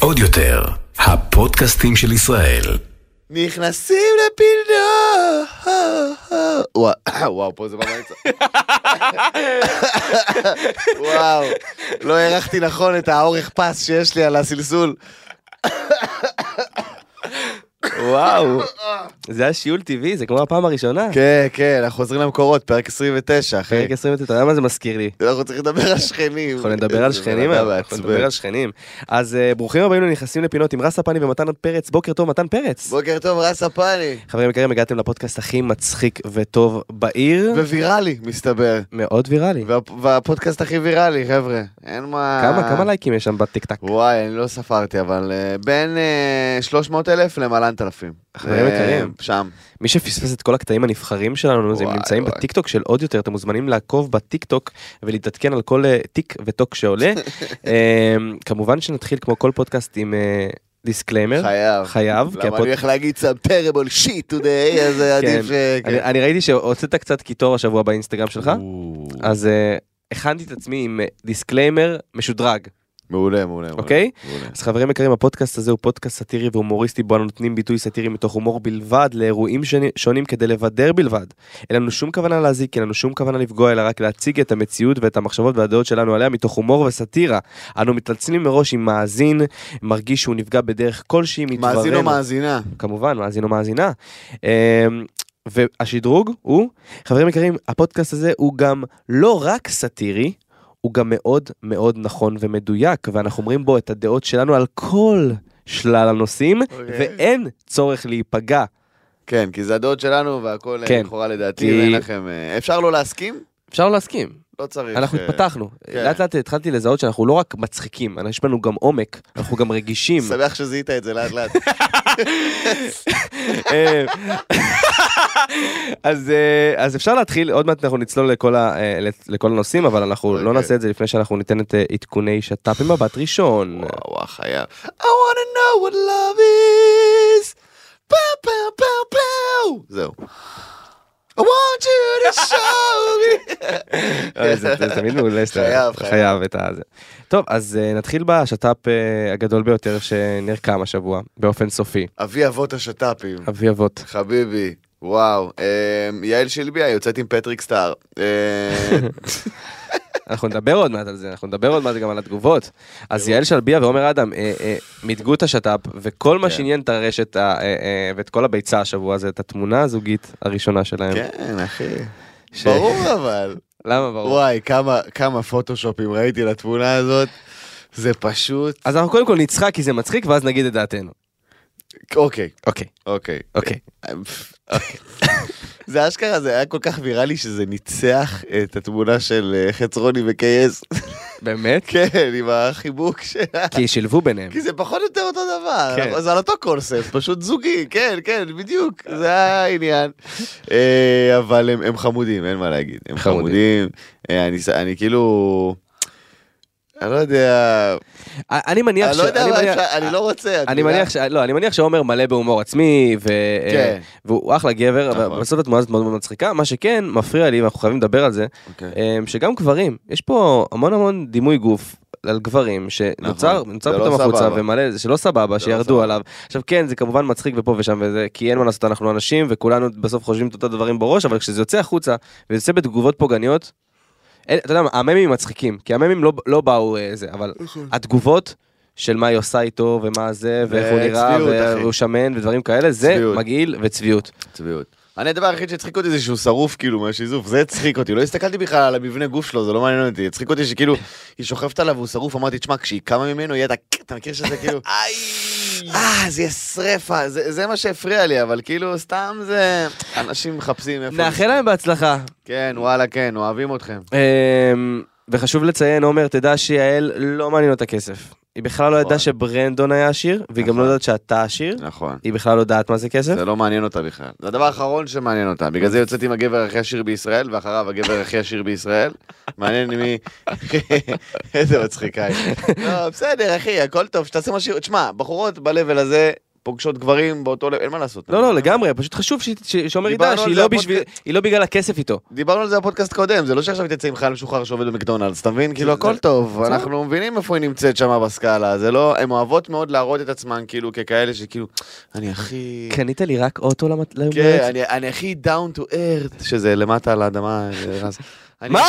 עוד יותר, הפודקאסטים של ישראל. נכנסים לפינות. וואו, וואו, פה זה בבית. וואו, לא הערכתי נכון את האורך פס שיש לי על הסלסול. וואו, זה היה שיעול טבעי, זה כמו הפעם הראשונה. כן, כן, אנחנו חוזרים למקורות, פרק 29, אחי. פרק 20, אתה יודע מה זה מזכיר לי? אנחנו צריכים לדבר על שכנים. אנחנו נדבר על זה שכנים, בן אדם היום, אנחנו מעצבן. נדבר על שכנים. אז אה, ברוכים הבאים לנכנסים לפינות עם רס הפני ומתן פרץ, בוקר טוב מתן פרץ. בוקר טוב, רס הפאני. חברים יקרים, הגעתם לפודקאסט הכי מצחיק וטוב בעיר, וויראלי, מסתבר. מאוד ויראלי. וה- והפודקאסט הכי ויראלי, חבר'ה. אין מה... כמה, כמה לייקים יש שם בטיקטק? וואי, אני לא ספרתי, אבל אה, בין אה, 300 אלף למעלן אלפים. חברים יקרים. שם. מי שפספס את כל הקטעים הנבחרים שלנו, אז הם וואי, נמצאים וואי. בטיקטוק של עוד יותר, אתם מוזמנים לעקוב בטיקטוק ולהתעדכן על כל אה, טיק וטוק שעולה. אה, כמובן שנתחיל כמו כל פודקאסט עם אה, דיסקליימר. חייב. חייב, כי למה הפוד- אני הולך להגיד some terrible shit today, אז אה, עדיף... כן. ש- אני- אני ראיתי שהוצאת קצת קיטור השבוע באינסטגרם שלך, או, אז אה, הכנתי את עצמי עם אה, דיסקליימר משודרג, מעולה, מעולה. מעולה, אוקיי? מעולה. אז חברים יקרים, הפודקאסט הזה הוא פודקאסט סאטירי והומוריסטי, בו אנו נותנים ביטוי סאטירי מתוך הומור בלבד, לאירועים שני- שונים כדי לבדר בלבד. אין לנו שום כוונה להזיק, אין לנו שום כוונה לפגוע, אלא רק להציג את המציאות ואת המחשבות והדעות שלנו עליה מתוך הומור וסאטירה. אנו מתעצלים מראש עם מאזין, מרגיש שהוא נפגע בדרך כלשהי מדברנו. מאזין או מאזינה. כמובן, מאזין או מאזינה. אמ, והשדרוג הוא, חברים יקרים, הפודקאסט הזה הוא גם לא רק סאטירי, הוא גם מאוד מאוד נכון ומדויק, ואנחנו אומרים בו את הדעות שלנו על כל שלל הנושאים, אוקיי. ואין צורך להיפגע. כן, כי זה הדעות שלנו והכל אה, כן. לכאורה לדעתי, כי- ואין לכם... אה, אפשר לא להסכים? אפשר לא להסכים, לא צריך. אנחנו אה, התפתחנו. כן. לאט לאט התחלתי לזהות שאנחנו לא רק מצחיקים, אנחנו- יש לנו גם עומק, אנחנו גם רגישים. שמח שזיהית את זה לאט לאט. אה, אז אה, אז אפשר להתחיל עוד מעט אנחנו נצלול לכל ה- אה, לכל הנושאים אבל אנחנו לא אוקיי. נעשה את זה לפני שאנחנו ניתן את אה, עדכוני שת"פ עם מבט ראשון. וואו, החייב. I wanna know what love is. פאו פאו פאו פאו. זהו. I want you to show me. אוי, אה, זה זה תמיד מעולה שאתה חייב, חייב. חייב את הזה. טוב אז אה, נתחיל בשת"פ אה, הגדול ביותר שנרקם השבוע באופן סופי. אבי אבות השת"פים. אבי אבות. חביבי. וואו. אמ, יעל שלביה יוצאת עם פטריק סטאר. אמ, אנחנו נדבר עוד מעט על זה, אנחנו נדבר עוד מעט גם על התגובות. אז יעל שלביה ועומר אדם אה, אה, מיתגו את השת"פ, וכל מה כן. שעניין את הרשת אה, אה, אה, ואת כל הביצה השבוע זה את התמונה הזוגית הראשונה שלהם. כן, אחי. ש- ברור אבל. למה ברור? וואי, כמה- כמה פוטושופים ראיתי לתמונה הזאת. זה פשוט... אז אנחנו קודם כל נצחק כי זה מצחיק, ואז נגיד את דעתנו. אוקיי, אוקיי, אוקיי. אוקיי. זה אשכרה, זה היה כל כך ויראלי שזה ניצח את התמונה של אה, חצרוני וקייס. באמת? כן, עם החיבוק שלה. כי שילבו ביניהם. כי זה פחות או יותר אותו דבר, כן. זה על אותו קונספט, פשוט זוגי, כן, כן, בדיוק, זה העניין. אה, אבל הם, הם חמודים, אין מה להגיד, הם חמודים. חמודים. אה, אני, ס- אני כאילו... אני לא יודע, א- אני מניח אני ש... לא יודע אני מה מניח- אפשר, אני לא רוצה. את אני מבינה? מניח ש... לא, אני מניח שעומר מלא בהומור עצמי, ו... אה, כן. והוא אחלה גבר, אבל נכון. בסוף התמונה הזאת מאוד מאוד מצחיקה. מה שכן מפריע לי, ואנחנו חייבים לדבר על זה, אוקיי. אמ, שגם גברים, יש פה המון המון דימוי גוף על גברים שנוצר נכון, נוצר זה פתאום לא החוצה סבבה. ומלא זה שלא סבבה זה לא שירדו סבבה. עליו עכשיו כן זה כמובן מצחיק ופה ושם וזה כי אין מה לעשות אנחנו אנשים וכולנו בסוף חושבים את אותם דברים בראש אבל כשזה יוצא החוצה וזה יוצא בתגובות פוגעניות. אין, אתה יודע מה, הממים מצחיקים כי הממים לא, לא באו אה, זה אבל התגובות. של מה היא עושה איתו ומה זה ואיך הוא נראה צביעות, אחי. והוא שמן ודברים כאלה זה צביעות. מגעיל וצביעות. צביעות. אני הדבר היחיד שהצחיק אותי זה שהוא שרוף כאילו מהשיזוף, זה הצחיק אותי, לא הסתכלתי בכלל על המבנה גוף שלו, זה לא מעניין אותי, הצחיק אותי שכאילו, היא שוכבת עליו והוא שרוף, אמרתי, תשמע, כשהיא קמה ממנו, יהיה את ה... אתה מכיר שזה כאילו... אה, זה ישרפה, זה מה שהפריע לי, אבל כאילו, סתם זה... אנשים מחפשים איפה... נאחל להם בהצלחה. כן, וואלה, כן, אוהבים אתכם. אמ, וחשוב לציין, עומר, תדע שיעל לא מעניין אותה כסף. היא בכלל לא ידעה נכון. שברנדון היה עשיר, והיא גם לא נכון. יודעת שאתה עשיר. נכון. היא בכלל לא יודעת מה זה כסף. זה לא מעניין אותה בכלל. זה הדבר האחרון שמעניין אותה. בגלל זה יוצאת עם הגבר הכי עשיר בישראל, ואחריו הגבר הכי עשיר בישראל. מעניין מי... איזה מצחיקה היא. לא, בסדר, אחי, הכל טוב, שתעשה משהו... תשמע, בחורות ב-level הזה... פוגשות גברים באותו לב, אין מה לעשות. לא, לא, לגמרי, פשוט חשוב ש- ש- שעומר נכון. דיברנו ידע על שהיא זה לא בפודקאסט. בשביל- היא לא בגלל הכסף איתו. דיברנו על זה בפודקאסט קודם, זה לא שעכשיו תצא עם חייל משוחרר שעובד במקדונלדס, אתה מבין? כאילו הכל טוב, אנחנו מבינים איפה היא נמצאת שם בסקאלה, זה לא, הן אוהבות מאוד להראות את עצמן כאילו ככאלה שכאילו, אני הכי... קנית לי רק אוטו למת- ליום כן, הולדת? אני- אני הכי down to earth, שזה למטה על האדמה, זה רז. אני- מה?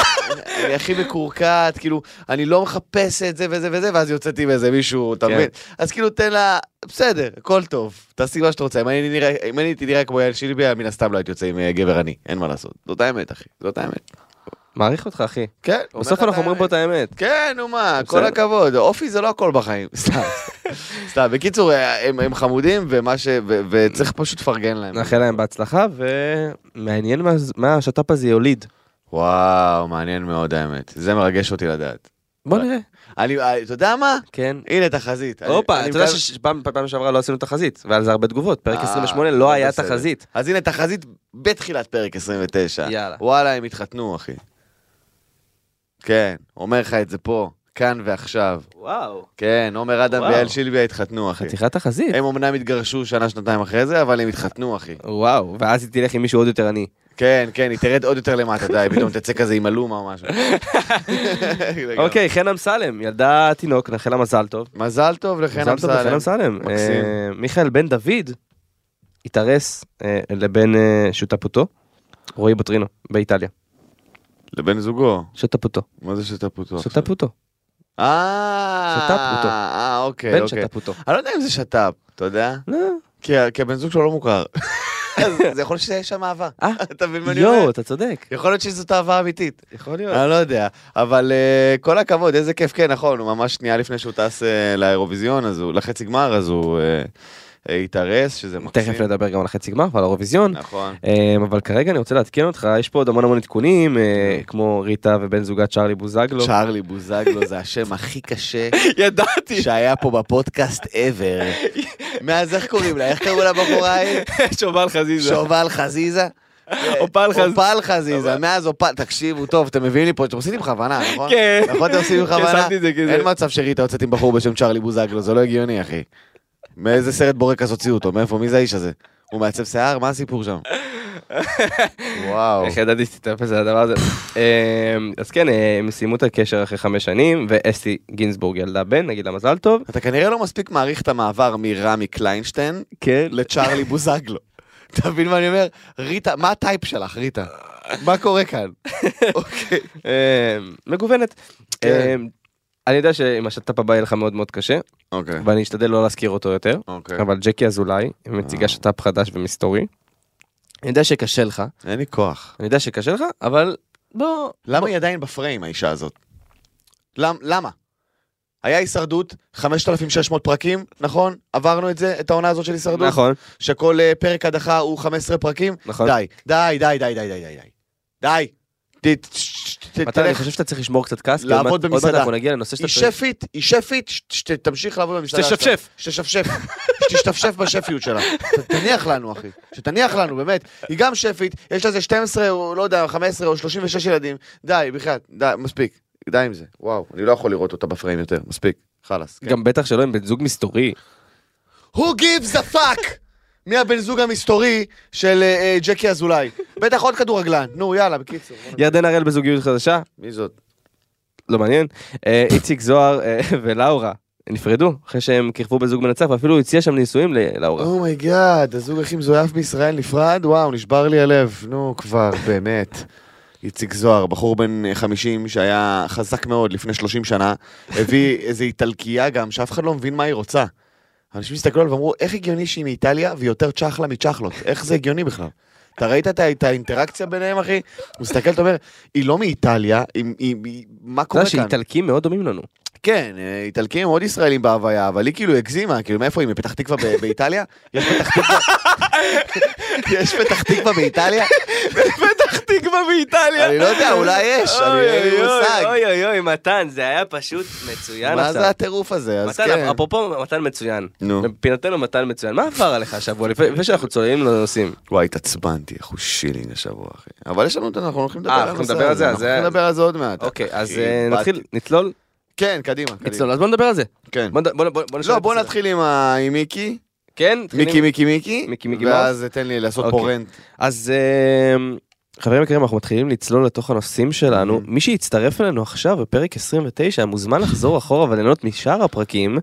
אני הכי מקורקעת, כאילו, אני לא מחפש את זה וזה וזה, ואז יוצאתי עם איזה מישהו, אתה כן. מבין? אז כאילו, תן לה, בסדר, הכל טוב, תעשי מה שאתה רוצה. אם אני נראה- אם אני הייתי נראה כמו יעל שילביה, מן הסתם לא הייתי יוצא עם אה, גבר עני, אין מה לעשות. זאת האמת, אחי, זאת האמת. מעריך אותך, אחי. כן, אומר לך בסוף את אנחנו אומרים פה את האמת. כן, נו מה, בסדר. כל הכבוד, אופי זה לא הכל בחיים, סתם, סתם. בקיצור, אה, הם הם חמודים, ומה ש... ו- וצריך פשוט לפרגן להם. נאחל להם בהצלחה, ומעניין מה- מה השת"פ הזה יוליד. וואו, מעניין מאוד האמת. זה מרגש אותי לדעת. בוא נראה. אני, אה, אתה יודע מה? כן. הנה תחזית. אני- הופה, אני אתה יודע מקו- שפעם שעברה לא עשינו תחזית, והיה לזה הרבה תגובות. פרק אה, 28 לא היה בסדר. תחזית. אז הנה תחזית בתחילת פרק 29. יאללה. וואלה, הם התחתנו, אחי. כן, אומר לך את זה פה, כאן ועכשיו. וואו. כן, עומר אדם וואו. ויעל שילביה התחתנו, אחי. חתיכת תחזית. הם אמנם התגרשו שנה-שנתיים אחרי זה, אבל הם התחתנו, אחי. וואו, ואז היא תלך עם מישהו עוד יותר עני. כן, כן, היא תרד עוד יותר למטה, די, פתאום תצא כזה עם אלומה או משהו. אוקיי, חן אמסלם, ילדה תינוק, נאחל לה מזל טוב. מזל טוב לחן מזל טוב לחן אמסלם. אמסלם. מקסים. אה, מיכאל בן דוד התארס אה, לבן אה, שותפותו, רועי בוטרינו, באיטליה. לבן זוגו. שותפותו. מה זה לא, שת"פוטו? שותפותו. אה, שת"פ-פוטו. אה, אוקיי, בן אוקיי. שותפותו. אני לא יודע אם זה שת"פ, אתה יודע? לא. כי ה- כי הבן זוג שלו לא מוכר. אז זה יכול להיות שיש שם אהבה. אה, אתה מבין מה אני אומר? יואו, אתה צודק. אה, יכול להיות שזאת אהבה אמיתית. יכול להיות. אני לא יודע, אבל אה, כל הכבוד, איזה כיף, כן, נכון, הוא ממש שנייה לפני שהוא טס אה, לאירוויזיון, אז הוא, לחצי גמר, אז הוא אה, אה, התארס, שזה מקסים. תכף נדבר גם על החצי גמר ועל האירוויזיון. נכון. אמ, אבל כרגע אני רוצה לעדכן אותך, יש פה עוד המון המון עדכונים, אה, כמו ריטה ובן זוגה צ'ארלי בוזגלו. צ'ארלי בוזגלו זה השם הכי קשה ידעתי. שהיה פה בפודקאסט ever. מאז איך קוראים לה? איך קראו לבחורה ההיא? שובל חזיזה. שובל חזיזה. אופל אוקיי. חז- אופל חזיזה, מאז אופל, תקשיבו טוב, אתם מביאים לי פה, אתם עושים לי בכוונה, נכון? כן. נכון אתם עושים לי כן, בכוונה? שמתי את זה, כי זה- אין מצב שריטה יוצאת עם בחור בשם צ'רלי בוזגלו, זה לא הגיוני אחי. מאיזה סרט בורקס הוציאו אותו, מאיפה, מי זה האיש הזה? הוא מעצב שיער? מה הסיפור שם? וואו. איך ידעתי שתתאפס על הדבר הזה. אמ, אז כן, אה, הם סיימו את הקשר אחרי חמש שנים, ואסתי גינסבורג ילדה בן, נגיד לה מזל טוב. אתה כנראה לא מספיק מעריך את המעבר מרמי קליינשטיין כן. לצ'רלי בוזגלו. אתה מבין מה אני אומר? ריטה, מה הטייפ שלך, ריטה? מה קורה כאן? אוקיי. אמ, מגוונת. כן. אמ, אני יודע שעם השת"פ הבא יהיה לך מאוד מאוד קשה, אוקיי. ואני אשתדל לא להזכיר אותו יותר, אוקיי. אבל ג'קי אזולאי מציגה שת"פ חדש ומסתורי. אה. אני יודע שקשה לך, אין לי כוח. אני יודע שקשה לך, אבל בוא... למה היא עדיין בפריים, האישה הזאת? למ- למה? היה הישרדות, 5,600 פרקים, נכון? עברנו את זה, את העונה הזאת של הישרדות? נכון, שכל אה, פרק הדחה הוא 15 פרקים? נכון. די, די, די, די, די, די, די, די. די. ת- ת- מתן, אני תלך. חושב שאתה צריך לשמור קצת כעס, כי לעבוד עוד מעט- עוד מעט במסעדה. אנחנו נגיע לנושא היא שאתה צריך... שפית, היא שפית, ש- ש- תמשיך לעבוד במסעדה. שלה. שתשפשף. שתשפשף. שתשתפשף בשפיות שלה. ת- תניח לנו, אחי. שתניח לנו, באמת. היא גם שפית, יש לה איזה 12, או לא יודע, 15 או 36 ילדים. די, בחייאת, די, מספיק. די עם זה. וואו, אני לא יכול לראות אותה בפריים יותר. מספיק. חלאס. כן. גם בטח שלא עם בן זוג מסתורי. Who gives a fuck? מי הבן זוג המסתורי של אה, אה, ג'קי אזולאי? בטח עוד כדורגלן. נו, יאללה, בקיצור. בוא נ- ירדן הראל בזוגיות חדשה, מי זאת? לא מעניין. אה, איציק זוהר אה, ולאורה נפרדו, אחרי שהם קירבו בזוג מנצח, ואפילו הציע שם נישואים ללאורה. אומייגאד, Oh הזוג הכי מזויף בישראל נפרד, וואו, נשבר לי הלב, נו כבר, באמת. איציק זוהר, בחור בן 50 שהיה חזק מאוד לפני 30 שנה, הביא איזו איטלקייה גם, שאף אחד לא מבין מה היא רוצה. אנשים הסתכלו עליו ואמרו, איך הגיוני שהיא מאיטליה והיא יותר צ'חלה מצ'חלות? איך זה הגיוני בכלל? אתה ראית את, ה- את האינטראקציה ביניהם, אחי? הוא מסתכל, אתה אומר, היא לא מאיטליה, היא, היא, היא, מה אתה קורה יודע כאן? שאיטלקים מאוד דומים לנו. כן, אה, איטלקים הם עוד ישראלים בהוויה, אבל היא כאילו הגזימה, כאילו מאיפה היא? מפתח תקווה ב- באיטליה? יש פתח תקווה... יש פתח תקווה באיטליה? פתח תקווה באיטליה. אני לא יודע, אולי יש, אני אין לי מושג. אוי אוי אוי, מתן, זה היה פשוט מצוין מה עכשיו. זה הטירוף הזה? אז מתן, כן. אפרופו מתן מצוין. נו. מבחינתנו מתן מצוין. מה עבר עליך השבוע לפני לפני שאנחנו צוללים לנושאים? וואי, התעצבנתי, אנחנו שילינג השבוע, אחי. אבל יש לנו, את- אנחנו הולכים לדבר אה, על אנחנו הנושא נדבר על זה, הזה, אז אנחנו זה- הולכים לדבר על זה עוד מעט. אוקיי, אז אחי, אה, באתי. נתחיל, נצלול? כן, קדימה, קדימה. נצלול, אז בוא נדבר על זה. כן. בוא נד- בוא- בוא- בוא נשאל לא, את בוא הסדר. נתחיל עם ה- עם מיקי. כן? מתחילים- מיקי, מיקי, מיקי, מיקי, מיקי, ואז תן לי לעשות פה אוקיי. רנט. אז אמ, חברים יקרים, אנחנו מתחילים לצלול לתוך הנושאים שלנו. מי שיצטרף אלינו עכשיו בפרק 29 מוזמן לחזור אחורה וליהנות משאר הפרקים,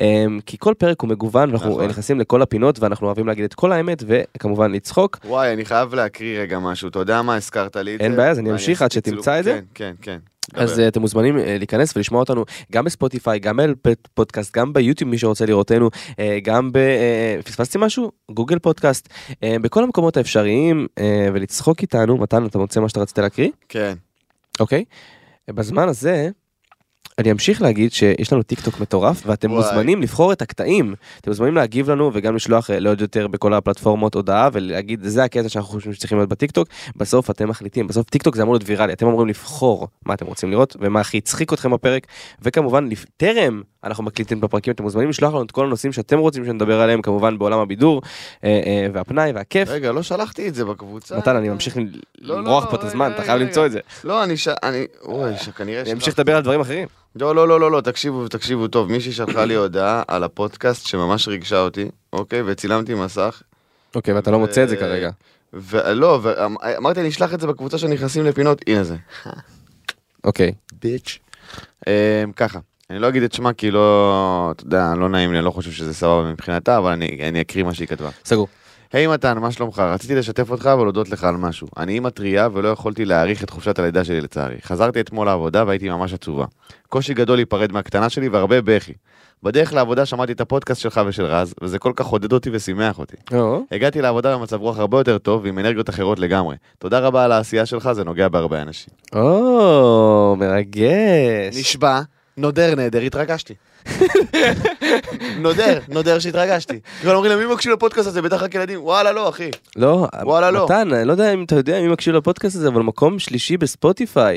אמ, כי כל פרק הוא מגוון ואנחנו נכון. נכנסים לכל הפינות ואנחנו אוהבים להגיד את כל האמת וכמובן לצחוק. וואי, אני חייב להקריא רגע משהו, אתה יודע מה הזכרת לי את זה? אין בעיה, אז אני ואני אמשיך עשיתי עד שתמצא צילום. את זה. כן, כן, כן. אז אה, אתם מוזמנים אה, להיכנס ולשמוע אותנו גם בספוטיפיי, גם בפודקאסט, גם ביוטיוב מי שרוצה לראותנו, אה, גם ב... אה, פספסתי משהו? גוגל פודקאסט, אה, בכל המקומות האפשריים אה, ולצחוק איתנו. מתן, אתה מוצא מה שאתה רצית להקריא? כן. אוקיי? בזמן הזה, אני אמשיך להגיד שיש לנו טיק טוק מטורף, ואתם וואי. מוזמנים לבחור את הקטעים. אתם מוזמנים להגיב לנו וגם לשלוח אה, לעוד יותר בכל הפלטפורמות הודעה ולהגיד, זה הקטע שאנחנו חושבים שצריכים להיות בטיק טוק. בסוף אתם מחליטים, בסוף טיק טוק זה אמור להיות ויראלי, אתם אמורים לבחור מה אתם רוצים לראות ומה הכי הצחיק אתכם בפרק, וכמובן, לפ- טרם אנחנו מקליטים בפרקים, אתם מוזמנים לשלוח לנו את כל הנושאים שאתם רוצים שנדבר עליהם, כמובן בעולם הבידור, אה, אה, והפנאי והכיף. רגע, לא שלחתי את זה בקבוצה. מתן, אני ממשיך ל- לא, למרוח לא, פה את הזמן, רגע, אתה חייב רגע. למצוא את זה. לא, אני ש... אני... אוי, שכנראה אני שלחתי. אמשיך לדבר על דברים אחרים. לא, לא, לא, לא, לא, תקשיבו, תקשיבו טוב. מישהי שלחה לי הודעה על הפודקאסט שממש ריגשה אותי, אוקיי? וצילמתי מסך. לא, אוקיי, ואתה לא מוצא את זה ו- כרגע. ולא, ואמרתי, אמ, אני אשלח את זה בקבוצה שנכנסים לפינות, הנה זה. אוקיי. ביץ'. ככה, אני לא אגיד את שמה כי לא, אתה יודע, לא נעים לי, אני לא חושב שזה סבבה מבחינתה, אבל אני אני אקריא מה שהיא כתבה. סגור. היי מתן, מה שלומך? רציתי לשתף אותך ולהודות לך על משהו. אני אימא טרייה ולא יכולתי להאריך את חופשת הלידה שלי לצערי. חזרתי אתמול לעבודה והייתי ממש עצובה. קושי גדול להיפרד מהקטנה שלי והרבה בכי. בדרך לעבודה שמעתי את הפודקאסט שלך ושל רז, וזה כל כך עודד אותי ושימח אותי. הגעתי לעבודה במצב רוח הרבה יותר טוב ועם אנרגיות אחרות לגמרי. תודה רבה על העשייה שלך, זה נוגע בהרבה אנשים. או, מרגש. נשבע, נודר נדר, התרגשתי. נודר, נודר שהתרגשתי. כבר אומרים למי מקשיב לפודקאסט הזה? בטח רק ילדים. וואלה לא, אחי. לא, וואלה, לא. מתן, אני לא יודע אם אתה יודע מי מקשיב לפודקאסט הזה, אבל מקום שלישי בספוטיפיי.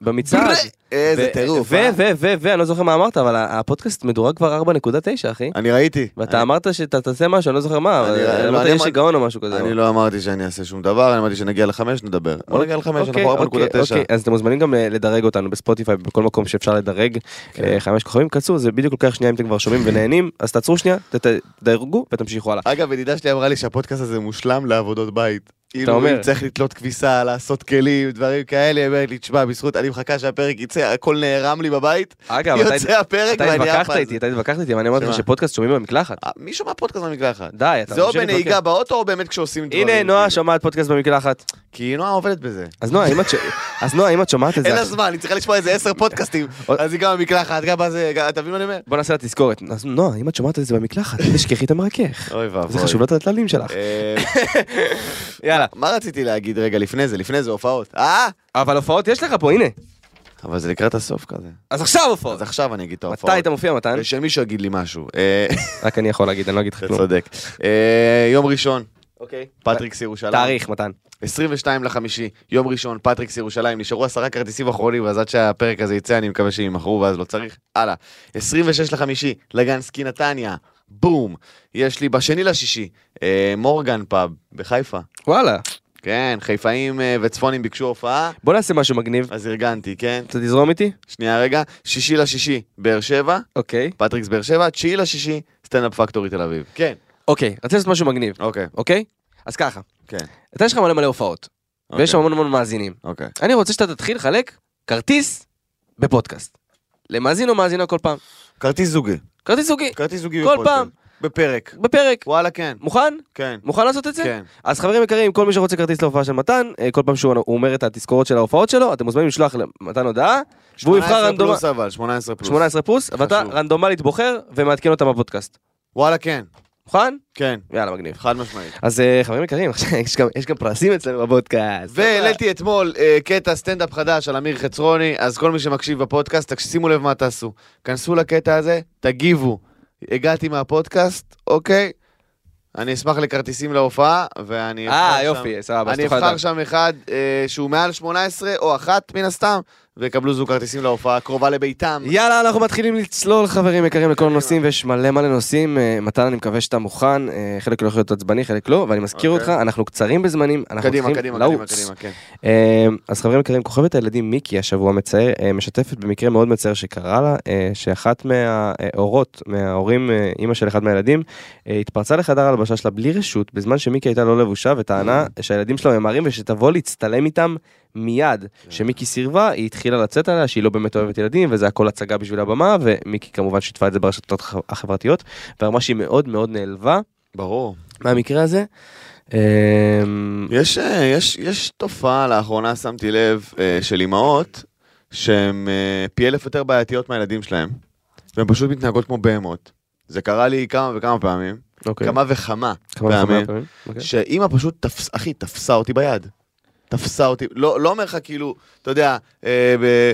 במצעד. איזה ו- טירוף. ו, אה? ו, ו, ו, אני לא זוכר מה אמרת, אבל ה- הפודקאסט מדורג כבר 4.9, אחי. אני ראיתי. ואתה אמרת שאתה תעשה משהו, אני לא זוכר מה, אני- אבל לא, אמרת אני יש אמרתי- שיגעון או משהו אני- כזה. אני לא אמרתי שאני אעשה שום דבר, אני אמרתי שנגיע לחמש, נדבר. בוא נגיע לחמש, אוקיי, אנחנו 4.9. אוקיי, אז אתם מוזמנים גם ל- לדרג אותנו בספוטיפיי, בכל מקום שאפשר לדרג. אה, חמש כוכבים, קצו, זה בדיוק לוקח שנייה אם אתם כבר שומעים ונהנים, אז תעצרו שנייה, ת- ת- תדרגו ותמשיכו הלאה. אגב, ידידה שלי אמרה לי שהפודקאסט הזה מושלם לעבודות בית. כאילו, אומר. אם צריך לתלות כביסה, לעשות כלים, דברים כאלה, היא אומרת לי, תשמע, בזכות, אני מחכה שהפרק יצא, הכל נערם לי בבית, אגב, כן, אתה- יוצא הפרק אתה ואני עפה התווכחת על איתי, זה. אתה התווכחת איתי, אבל אני אמרתי לך שמה? שפודקאסט שומעים במקלחת. אה, מי שומע פודקאסט במקלחת? די, אתה זה או ממשיך בנהיגה להתווכח. באוטו או באמת כשעושים דברים. הנה, נועה כאילו. שומעת פודקאסט במקלחת. כי נועה עובדת בזה. אז נועה, אם את ש- אז נועה, אם את שומעת את זה... אין לה אז- זמן, היא צריכה לשמוע איזה עשר פודקאסטים. עוד- אז היא גם במקלחת, גם בזה, גם- אתה מבין מה אני אומר? בוא נעשה לה תזכורת. אז נועה, אם את שומעת את זה במקלחת, אל תשכחי את המרכך. אוי ואבוי. זה חשוב לטלטלים שלך. אה, יאללה. מה רציתי להגיד רגע לפני זה? לפני זה הופעות. אה? אבל הופעות יש לך פה, הנה. אבל זה לקראת הסוף כזה. אז עכשיו הופעות. אז עכשיו אני אגיד את ההופעות. מתי אתה מופיע, מתן? ושמישהו יגיד לי משהו. אה, רק אני יכול להגיד, אני לא אגיד לך אתה כלום. צודק. אה, יום ראשון, אוקיי. פטריקס ירושלים. תאריך, מתן. 22 לחמישי, יום ראשון, פטריקס ירושלים, נשארו עשרה כרטיסים אחרונים, אז עד שהפרק הזה יצא, אני מקווה שהם ימכרו ואז לא צריך. הלאה. 26 לחמישי, לגנסקי נתניה, בום. יש לי בשני לשישי, אה, מורגן פאב, בחיפה. וואלה. כן, חיפאים אה, וצפונים ביקשו הופעה, בוא נעשה משהו מגניב. אז ארגנתי, כן? אתה תזרום איתי? שנייה רגע, שישי לשישי, באר שבע, אוקיי. פטריקס באר שבע, תשיעי לשישי, סטנדאפ פקטורי תל אביב. כן. אוקיי, רציתי לעשות משהו מגניב, אוקיי, אוקיי? אז ככה, כן. אתה יש לך מלא מלא הופעות, ויש המון המון מאזינים. אוקיי. אני רוצה שאתה תתחיל לחלק כרטיס בפודקאסט. למאזין או מאזינה כל פעם. כרטיס זוגי. כרטיס זוגי, כרטיס זוגי כל בפודקאסט. פעם. בפרק. בפרק. וואלה, כן. מוכן? כן. מוכן לעשות את זה? כן. אז חברים יקרים, כל מי שרוצה כרטיס להופעה של מתן, אה, כל פעם שהוא הוא אומר את התזכורות של ההופעות שלו, אתם מוזמנים לשלוח למתן הודעה, והוא יבחר 18 רנדומלית, פלוס אבל, 18 פלוס. 18 פלוס, ואתה חשוב. רנדומלית בוחר ומעדכן אותם בפודקאסט. וואלה, כן. מוכן? כן. יאללה, מגניב. חד משמעית. אז אה, חברים יקרים, עכשיו יש גם- יש גם פרסים אצלנו בפודקאסט. והעליתי אתמול אה, קטע סטנדאפ חדש על אמיר חצרוני, אז כל מי שמקשיב בפודקאסט, תקש- שימו לב מה תעשו. כנסו לקטע הזה, תגיבו. הגעתי מהפודקאסט, אוקיי? אני אשמח לכרטיסים להופעה, ואני... אה, אבחר שם- יופי, סבבה, אז אני תוכל אבחר לדעת. שם אחד אה, שהוא מעל 18 או אחת מן הסתם, ויקבלו זוג כרטיסים להופעה הקרובה לביתם. יאללה, אנחנו מתחילים לצלול, חברים יקרים, לכל הנושאים, ויש מלא מלא נושאים. אה, מתן, אני מקווה שאתה מוכן, אה, חלק לא יכול להיות עצבני, חלק לא, ואני מזכיר אותך, אוקיי. אנחנו קצרים בזמנים, אנחנו קדימה, צריכים קדימה, קדימה, לעוץ. קדימה, כן. אה, אז חברים יקרים, כוכבת הילדים מיקי השבוע מצער, אה, משתפת במקרה מאוד מצער שקרה לה, אה, שאחת מההורות, מההורים, אה, אימא של אחד מהילדים, אה, התפרצה לחדר ההלבשה שלה בלי רשות, בזמן שמיקי הייתה לא לבושה, וטענה Mm. שהילדים שלה ממהרים ושתבוא להצטלם איתם מיד. Mm. שמיקי סירבה, היא התחילה לצאת עליה שהיא לא באמת אוהבת ילדים, וזה הכל הצגה בשביל הבמה, ומיקי כמובן שיתפה את זה ברשתות הח- החברתיות, ואמרה שהיא מאוד מאוד נעלבה ברור. מהמקרה הזה. אמ, אה, יש, אה, יש, יש תופעה, לאחרונה שמתי לב, אה, של אימהות, שהן אה, פי אלף יותר בעייתיות מהילדים שלהם, והן פשוט מתנהגות כמו בהמות. זה קרה לי כמה וכמה פעמים, אוקיי. כמה וכמה, כמה וכמה פעמים. פעמים? אוקיי. שאימא פשוט, תפס, אחי, תפסה אותי ביד. תפסה אותי, לא, לא אומר לך כאילו, אתה יודע, אה, ב...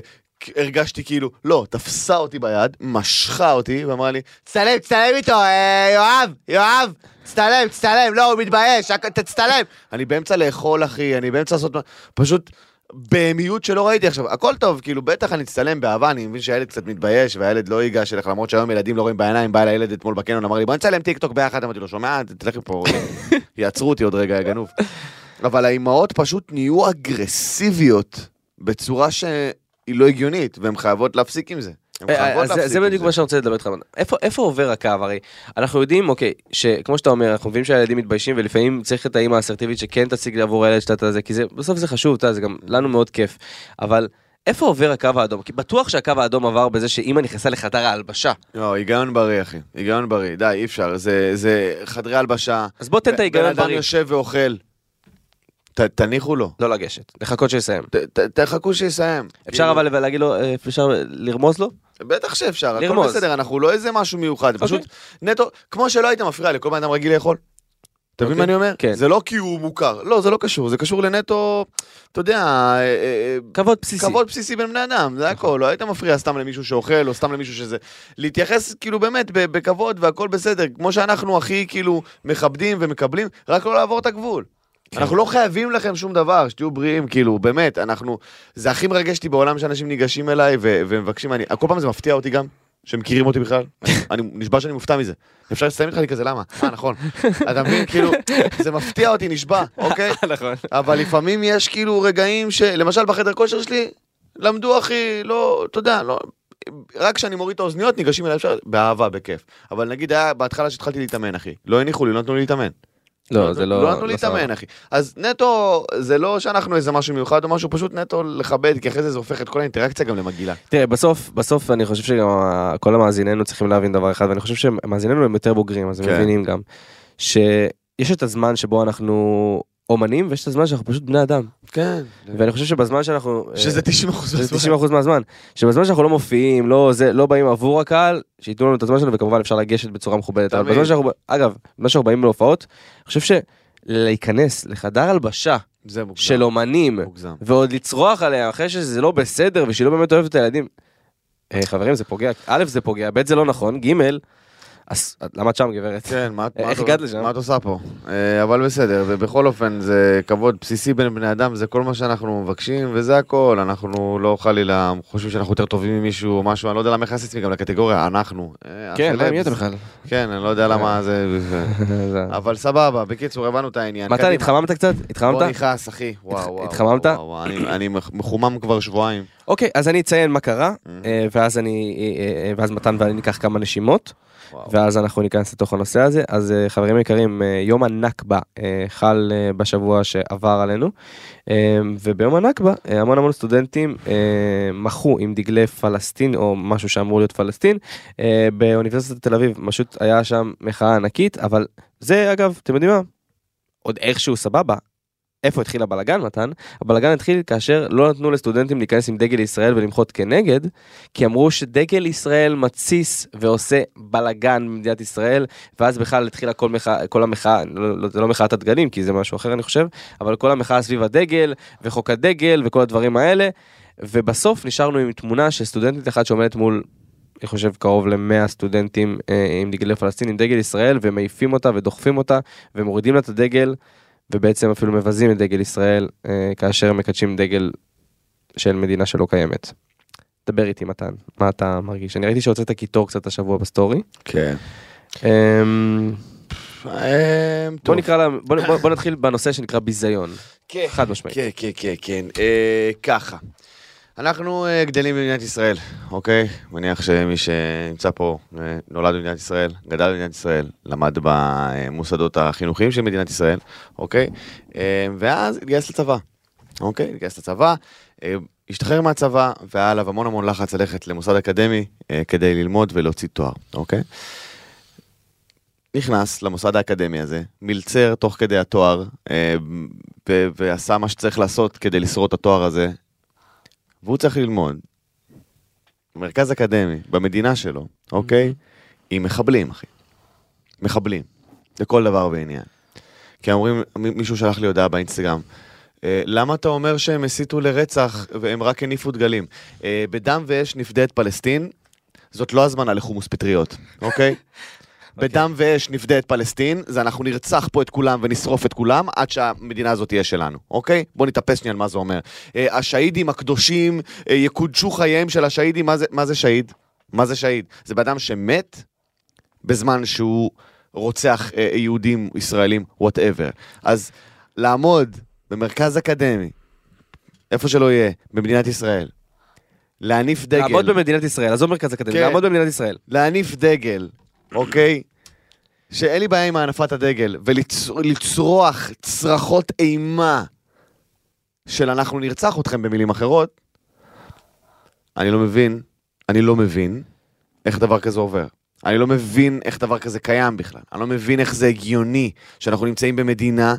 הרגשתי כאילו, לא, תפסה אותי ביד, משכה אותי, ואמרה לי, תצטלם, תצטלם איתו, אה, יואב, יואב, תצטלם, תצטלם, לא, הוא מתבייש, הכ- תצטלם. אני באמצע לאכול, אחי, אני באמצע לעשות, מה- פשוט, בהמיות שלא ראיתי עכשיו, הכל טוב, כאילו, בטח אני אצטלם באהבה, אני מבין שהילד קצת מתבייש, והילד לא ייגש אליך, למרות שהיום ילדים לא רואים בעיניים, בא אל הילד אתמול בקניון, אמר לי, בוא נצלם טיק טוק ביחד, אמרתי לו, שומע, תלך מפה, יעצרו אותי עוד רגע, יא גנוב. אבל האימהות פשוט נהיו אגרסיביות בצורה שהיא לא הגיונית, והן חייבות להפסיק עם זה. הן אה, חייבות אז זה- להפסיק זה עם בדיוק מה שאני רוצה לדבר איתך. עליו. איפה- איפה עובר הקו הרי? אנחנו יודעים, אוקיי, שכמו שאתה אומר, אנחנו מבינים שהילדים מתביישים ולפעמים צריך את האימא האסרטיבית שכן תשיג עבור הילד שאתה אתה זה, כי זה- בסוף זה חשוב, אתה יודע, זה גם לנו מאוד כיף. אבל איפה עובר הקו האדום? כי בטוח שהקו האדום עבר בזה שאימא נכנסה לחדר ההלבשה. לא, היגיון בריא, אחי. היגיון בריא, די, אי אפשר. זה- זה חדרי הלבשה. אז בוא תן את ההיגיון בן אדם בריא. יושב ואוכל. ת- תניחו לו. לא לגשת, לחכות שיסיים. ת- ת- תחכו שיסיים. אפשר כאילו, אבל להגיד לו, אה, אפשר לרמוז לו? בטח שאפשר, הכל לרמוז. אוקיי. בסדר, אנחנו לא איזה משהו מיוחד, פשוט נטו, כמו שלא היית מפריע לכל בן אדם רגיל לאכול. אתה מבין מה אני אומר? כן. זה לא כי הוא מוכר, לא, זה לא קשור, זה קשור לנטו, אתה יודע, אה, אה, כבוד בסיסי. כבוד בסיסי בין בני אדם, זה הכל, לא היית מפריע סתם למישהו שאוכל, או סתם למישהו שזה. להתייחס כאילו באמת ב- בכבוד והכל בסדר, כמו שאנחנו הכי כאילו מכבדים ומקבלים, רק לא לעבור את הגבול. אנחנו לא חייבים לכם שום דבר, שתהיו בריאים, כאילו, באמת, אנחנו... זה הכי מרגש אותי בעולם שאנשים ניגשים אליי ו- ומבקשים, אני... כל פעם זה מפתיע אותי גם, שמכירים אותי בכלל. אני נשבע שאני מופתע מזה. אפשר לסיים איתך, אני כזה, למה? אה, נכון. אתה מבין, כאילו, זה מפתיע אותי, נשבע, אוקיי? נכון. אבל לפעמים יש כאילו רגעים ש... למשל בחדר כושר שלי, למדו אחי, לא, אתה יודע, לא... רק כשאני מוריד את האוזניות ניגשים אליי אפשר, באהבה, בכיף. אבל נגיד היה בהתחלה שהתחלתי להתאמן, אחי. לא הניחו לי, לא נתנו לי להתאמן. לא, זה לא... לא נתנו לי סבבה. להתאמן, אחי. אז נטו, זה לא שאנחנו איזה משהו מיוחד או משהו, פשוט נטו לכבד, כי אחרי זה זה הופך את כל האינטראקציה גם למגעילה. תראה, בסוף, בסוף אני חושב שגם ה- כל המאזיננו צריכים להבין דבר אחד, ואני חושב שמאזיננו הם יותר בוגרים, אז הם כן. מבינים גם, שיש את הזמן שבו אנחנו אומנים, ויש את הזמן שאנחנו פשוט בני אדם. כן. ואני חושב שבזמן שאנחנו... אה, שזה 90 אחוז. שזה 90% מהזמן, שבזמן שאנחנו לא מופיעים, לא זה, לא באים עבור הקהל, שייתנו לנו את הזמן שלנו, וכמובן אפשר לגשת בצורה מכובדת. אבל תמיד. בזמן שאנחנו, אגב, בזמן שאנחנו באים להופעות, אני חושב שלהיכנס לחדר הלבשה זה מוגזם. של אומנים, מוגזם. ועוד לצרוח עליה אחרי שזה לא בסדר ושהיא לא באמת אוהבת את הילדים. אה, חברים זה פוגע, א' זה פוגע, ב' זה לא נכון, ג' אז את- למה את שם גברת? כן, מה, אה, איך מה את- הגעת לשם? מה את עושה פה? אה, אבל בסדר, ובכל אופן, זה כבוד בסיסי בין בני אדם, זה כל מה שאנחנו מבקשים, וזה הכל. אנחנו לא חלילה חושבים שאנחנו יותר טובים ממישהו או משהו, אני לא יודע למה הכנסתי עצמי גם לקטגוריה, אנחנו. אה, כן, הסלבס. מה, מי אתה בכלל? אה. כן, אני לא יודע למה זה... זה- אבל סבבה, בקיצור, הבנו את העניין. מתן, קדימה. התחממת קצת? בוא התחממת? נכנס, אחי. וואו, וואו. התחממת? וואו, וואו, אני- אני מחומם כבר שבועיים. אוקיי, אז אני אציין מה קרה, אה, ואז אני, אה, אה, ואז מתן ואני ניקח כמה נשימות, וואו. ואז אנחנו ניכנס לתוך הנושא הזה. אז אה, חברים יקרים, אה, יום הנכבה אה, חל אה, בשבוע שעבר עלינו, אה, וביום הנכבה אה, המון המון סטודנטים אה, מחו עם דגלי פלסטין או משהו שאמור להיות פלסטין אה, באוניברסיטת תל אביב, פשוט היה שם מחאה ענקית, אבל זה אגב, אתם יודעים מה? עוד איכשהו סבבה. איפה התחיל הבלגן מתן? הבלגן התחיל כאשר לא נתנו לסטודנטים להיכנס עם דגל ישראל ולמחות כנגד, כי אמרו שדגל ישראל מתסיס ועושה בלגן במדינת ישראל, ואז בכלל התחילה כל, מח... כל המחאה, לא, לא, זה לא מחאת הדגלים, כי זה משהו אחר אני חושב, אבל כל המחאה סביב הדגל, וחוק הדגל, וכל הדברים האלה, ובסוף נשארנו עם תמונה של סטודנטית אחת שעומדת מול, אני חושב, קרוב ל-100 סטודנטים אה, עם דגלי פלסטין, עם דגל ישראל, ומעיפים אותה ודוחפים אותה, ומורידים לה את הדגל, ובעצם אפילו מבזים את דגל ישראל, אה, כאשר מקדשים דגל של מדינה שלא קיימת. דבר איתי מתן, מה אתה מרגיש? אני ראיתי שהוצאת קיטור קצת השבוע בסטורי. כן. אמ, אמ, בוא טוב. נקרא לה, בוא, בוא, בוא נתחיל בנושא שנקרא ביזיון. כן. חד משמעית. כן, כן, כן, כן. אה, ככה. אנחנו אה, גדלים במדינת ישראל, אוקיי? מניח שמי שנמצא פה אה, נולד במדינת ישראל, גדל במדינת ישראל, למד במוסדות החינוכיים של מדינת ישראל, אוקיי? אה, ואז התגייס לצבא, אוקיי? התגייס לצבא, אה, השתחרר מהצבא, והיה עליו המון המון לחץ ללכת למוסד אקדמי אה, כדי ללמוד ולהוציא תואר, אוקיי? נכנס למוסד האקדמי הזה, מלצר תוך כדי התואר, אה, ו- ועשה מה שצריך לעשות כדי לשרוד את התואר הזה, והוא צריך ללמוד. מרכז אקדמי, במדינה שלו, אוקיי? עם מחבלים, אחי. מחבלים. לכל דבר ועניין. כי אומרים, מ- מישהו שלח לי הודעה באינסטגרם. אה, למה אתה אומר שהם הסיתו לרצח והם רק הניפו דגלים? אה, בדם ואש נפדה את פלסטין, זאת לא הזמנה לחומוס פטריות, אוקיי? בדם ואש נפדה את פלסטין, זה אנחנו נרצח פה את כולם ונשרוף את כולם עד שהמדינה הזאת תהיה שלנו, אוקיי? בוא נתאפס שנייה על מה זה אומר. אה, השהידים הקדושים, אה, יקודשו חייהם של השהידים, מה זה, מה זה שהיד? מה זה שהיד? זה בן אדם שמת בזמן שהוא רוצח אה, יהודים, ישראלים, וואטאבר. אז לעמוד במרכז אקדמי, איפה שלא יהיה, במדינת ישראל, להניף דגל... לעמוד במדינת ישראל, עזוב מרכז אקדמי, כן. לעמוד במדינת ישראל. להניף דגל, אוקיי? שאין לי בעיה עם הנפת הדגל, ולצרוח צרחות אימה של אנחנו נרצח אתכם במילים אחרות, אני לא מבין, אני לא מבין איך דבר כזה עובר. אני לא מבין איך דבר כזה קיים בכלל. אני לא מבין איך זה הגיוני שאנחנו נמצאים במדינה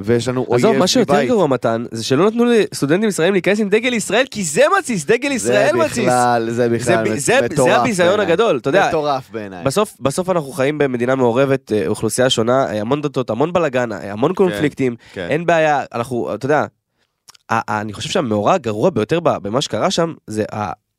ויש לנו אויב מבית. עזוב, מה שיותר גרוע מתן, זה שלא נתנו לסטודנטים ישראלים להיכנס עם דגל ישראל, כי זה מתסיס, דגל ישראל זה מתסיס. בכלל, זה זה ב- בכלל, זה- זה מטורף הביזיון בעיניי. הגדול, אתה יודע. מטורף בעיניי. בסוף, בסוף אנחנו חיים במדינה מעורבת, אה, אוכלוסייה שונה, אה, המון דתות, המון בלאגן, אה, המון קונפליקטים, כן. אין בעיה, אנחנו, אתה יודע, ה- ה- אני חושב שהמאורע הגרוע ביותר ב- במה שקרה שם, זה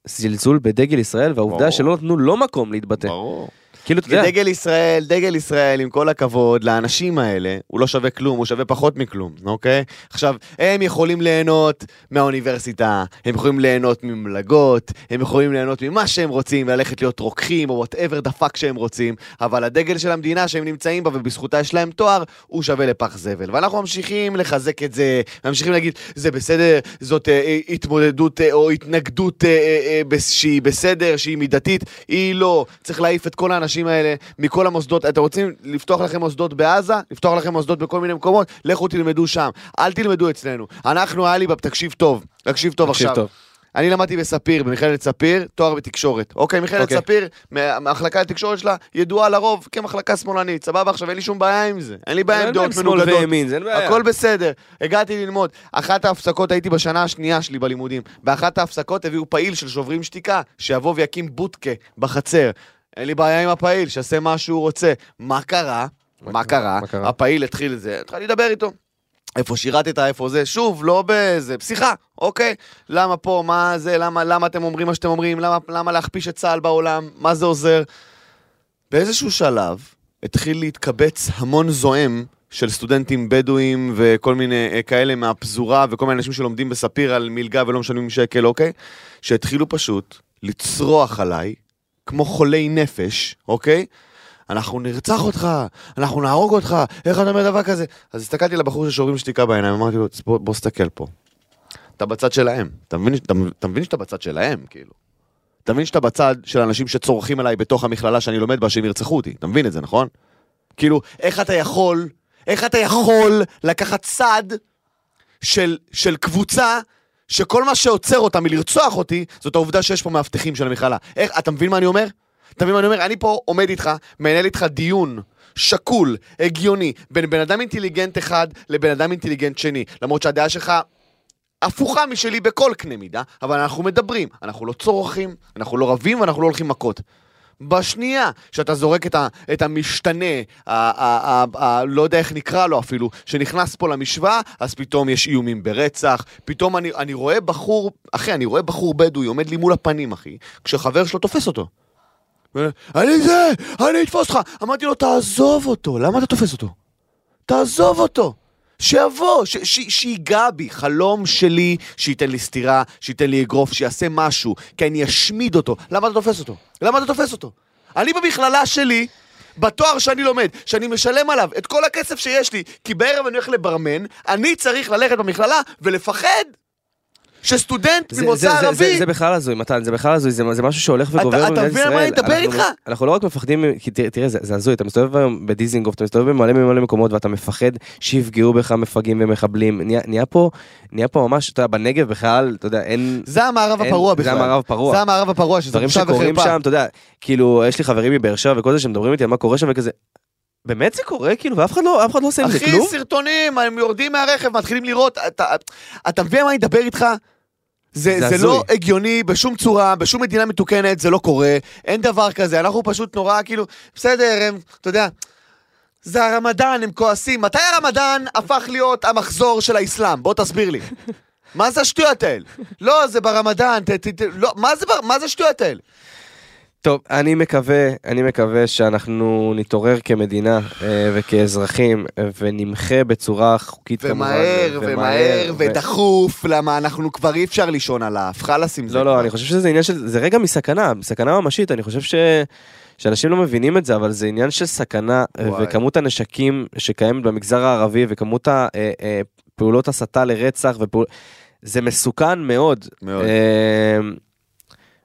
הזלזול בדגל ישראל והעובדה ברור. שלא נתנו לו מקום להתבטא. ברור. כאילו, אתה כי יודע, דגל ישראל, דגל ישראל, עם כל הכבוד, לאנשים האלה, הוא לא שווה כלום, הוא שווה פחות מכלום, אוקיי? עכשיו, הם יכולים ליהנות מהאוניברסיטה, הם יכולים ליהנות ממלגות, הם יכולים ליהנות ממה שהם רוצים, ללכת להיות רוקחים, או וואטאבר דה פאק שהם רוצים, אבל הדגל של המדינה שהם נמצאים בה ובזכותה יש להם תואר, הוא שווה לפח זבל. ואנחנו ממשיכים לחזק את זה, ממשיכים להגיד, זה בסדר, זאת אה, אה, התמודדות אה, או התנגדות אה, אה, אה, בס- שהיא בסדר, שהיא מידתית, היא לא. צריך להעיף את כל האנשים האלה מכל המוסדות. אתם רוצים לפתוח לכם מוסדות בעזה? לפתוח לכם מוסדות בכל מיני מקומות? לכו תלמדו שם. אל תלמדו אצלנו. אנחנו, היה לי, בפ- תקשיב טוב, תקשיב טוב תקשיב עכשיו. טוב. אני למדתי בספיר, במכללת ספיר, תואר בתקשורת. אוקיי, מכללת אוקיי. ספיר, מה- מהמחלקה לתקשורת שלה, ידועה לרוב כמחלקה שמאלנית, סבבה? עכשיו אין לי שום בעיה עם זה. אין לי בעיה עם אין בעיה דעות עם שמאל מנוגדות. וימין, זה אין בעיה. הכל בסדר. הגעתי ללמוד. אחת ההפסקות, הייתי בשנה השנייה שלי בלימודים. באחת ההפסקות הביאו פעיל של שוברים שתיקה, שיבוא ויקים בוטקה בחצר. אין לי בעיה עם הפעיל, שיעשה מה שהוא רוצה. מה קרה? מה קרה? מה קרה? הפעיל התחיל את זה, התחלתי לדבר איתו. איפה שירתת, איפה זה, שוב, לא באיזה, שיחה, אוקיי? למה פה, מה זה, למה, למה אתם אומרים מה שאתם אומרים, למה, למה להכפיש את צה"ל בעולם, מה זה עוזר? באיזשהו שלב התחיל להתקבץ המון זועם של סטודנטים בדואים וכל מיני אה, כאלה מהפזורה וכל מיני אנשים שלומדים בספיר על מלגה ולא משלמים שקל, אוקיי? שהתחילו פשוט לצרוח עליי כמו חולי נפש, אוקיי? אנחנו נרצח אותך, אנחנו נהרוג אותך, איך אתה אומר דבר כזה? אז הסתכלתי לבחור ששוברים שתיקה בעיניים, אמרתי לו, "בוא- בוא סתכל פה. אתה בצד שלהם, אתה מבין, אתה, אתה מבין שאתה בצד שלהם, כאילו. אתה מבין שאתה בצד של אנשים שצורכים עליי בתוך המכללה שאני לומד בה, שהם ירצחו אותי, אתה מבין את זה, נכון? כאילו, איך אתה יכול, איך אתה יכול לקחת צד של, של קבוצה שכל מה שעוצר אותה מלרצוח אותי, זאת העובדה שיש פה מאבטחים של המכללה. איך, אתה מבין מה אני אומר? אתה מבין מה אני אומר? אני פה עומד איתך, מנהל איתך דיון. שקול, הגיוני, בין בן אדם אינטליגנט אחד לבן אדם אינטליגנט שני. למרות שהדעה שלך הפוכה משלי בכל קנה מידה, אבל אנחנו מדברים, אנחנו לא צורכים, אנחנו לא רבים ואנחנו לא הולכים מכות. בשנייה שאתה זורק את, ה, את המשתנה, ה, ה, ה, ה, לא יודע איך נקרא לו אפילו, שנכנס פה למשוואה, אז פתאום יש איומים ברצח, פתאום אני, אני רואה בחור, אחי, אני רואה בחור בדואי עומד לי מול הפנים, אחי, כשחבר שלו תופס אותו. ואומר, אני זה, אני אתפוס אותך. אמרתי לו, תעזוב אותו, למה אתה תופס אותו? תעזוב אותו. שיבוא, ש- ש- שיגע בי, חלום שלי, שייתן לי סטירה, שייתן לי אגרוף, שיעשה משהו, כי אני אשמיד אותו. למה אתה תופס אותו? למה אתה תופס אותו? אני במכללה שלי, בתואר שאני לומד, שאני משלם עליו את כל הכסף שיש לי, כי בערב אני הולך לברמן, אני צריך ללכת במכללה ולפחד שסטודנט זה- ממוצא זה- זה- ערבי... זה- זה בכלל הזוי, מתן, זה בכלל הזוי, זה זה משהו שהולך וגובר אתה במדינת ישראל. מבין על מה אני מדבר אנחנו- איתך? אנחנו לא רק מפחדים, מ- כי תראה, תראה, זה זה הזוי, אתה מסתובב היום בדיזינגוף, אתה מסתובב במלא ממלא מקומות ואתה מפחד שיפגעו בך מפגעים ומחבלים. נהיה- נהיה פה, נהיה פה ממש, אתה יודע, בנגב בכלל, אתה יודע, אין... זה המערב אין- הפרוע זה בכלל. המערב הפרוע. זה המערב הפרוע, שזה דברים בושה שקורים וחרפה. שם, אתה יודע, כאילו, יש לי חברים מבאר שבע וכל זה שמדברים איתי על מה קורה שם וכזה, באמת זה קורה? כאילו, ואף אחד לא, אף אחד לא עושה עם זה אחי, כלום? סרטונים, הם יורדים מהרכב, מתחילים לראות, אתה, אתה מבין על מה אני אדבר איתך? זה, זה זה, זה לא הזוי. הגיוני בשום צורה, בשום מדינה מתוקנת, זה לא קורה, אין דבר כזה, אנחנו פשוט נורא כאילו, בסדר, הם, אתה יודע, זה הרמדאן, הם כועסים, מתי הרמדאן הפך להיות המחזור של האסלאם? בוא תסביר לי. מה זה השטויות האלה? לא, זה ברמדאן, ת, ת, ת, לא, מה זה, בר- מה זה השטויות האלה? טוב, אני מקווה, אני מקווה שאנחנו נתעורר כמדינה אה, וכאזרחים אה, ונמחה בצורה חוקית כמובן. ומהר, ומהר, ו- ודחוף, למה אנחנו כבר אי אפשר לישון על האף, חלאס עם זה. לא, כבר. לא, אני חושב שזה עניין של, זה רגע מסכנה, מסכנה ממשית, אני חושב ש... שאנשים לא מבינים את זה, אבל זה עניין של סכנה, אה, וואי. וכמות הנשקים שקיימת במגזר הערבי, וכמות הפעולות הסתה לרצח, ופעול... זה מסוכן מאוד. מאוד. אה,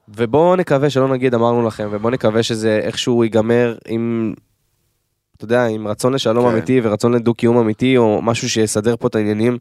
ובואו נקווה שלא נגיד אמרנו לכם, ובואו נקווה שזה איכשהו ייגמר עם, אתה יודע, עם רצון לשלום כן. אמיתי ורצון לדו-קיום אמיתי, או משהו שיסדר פה את העניינים,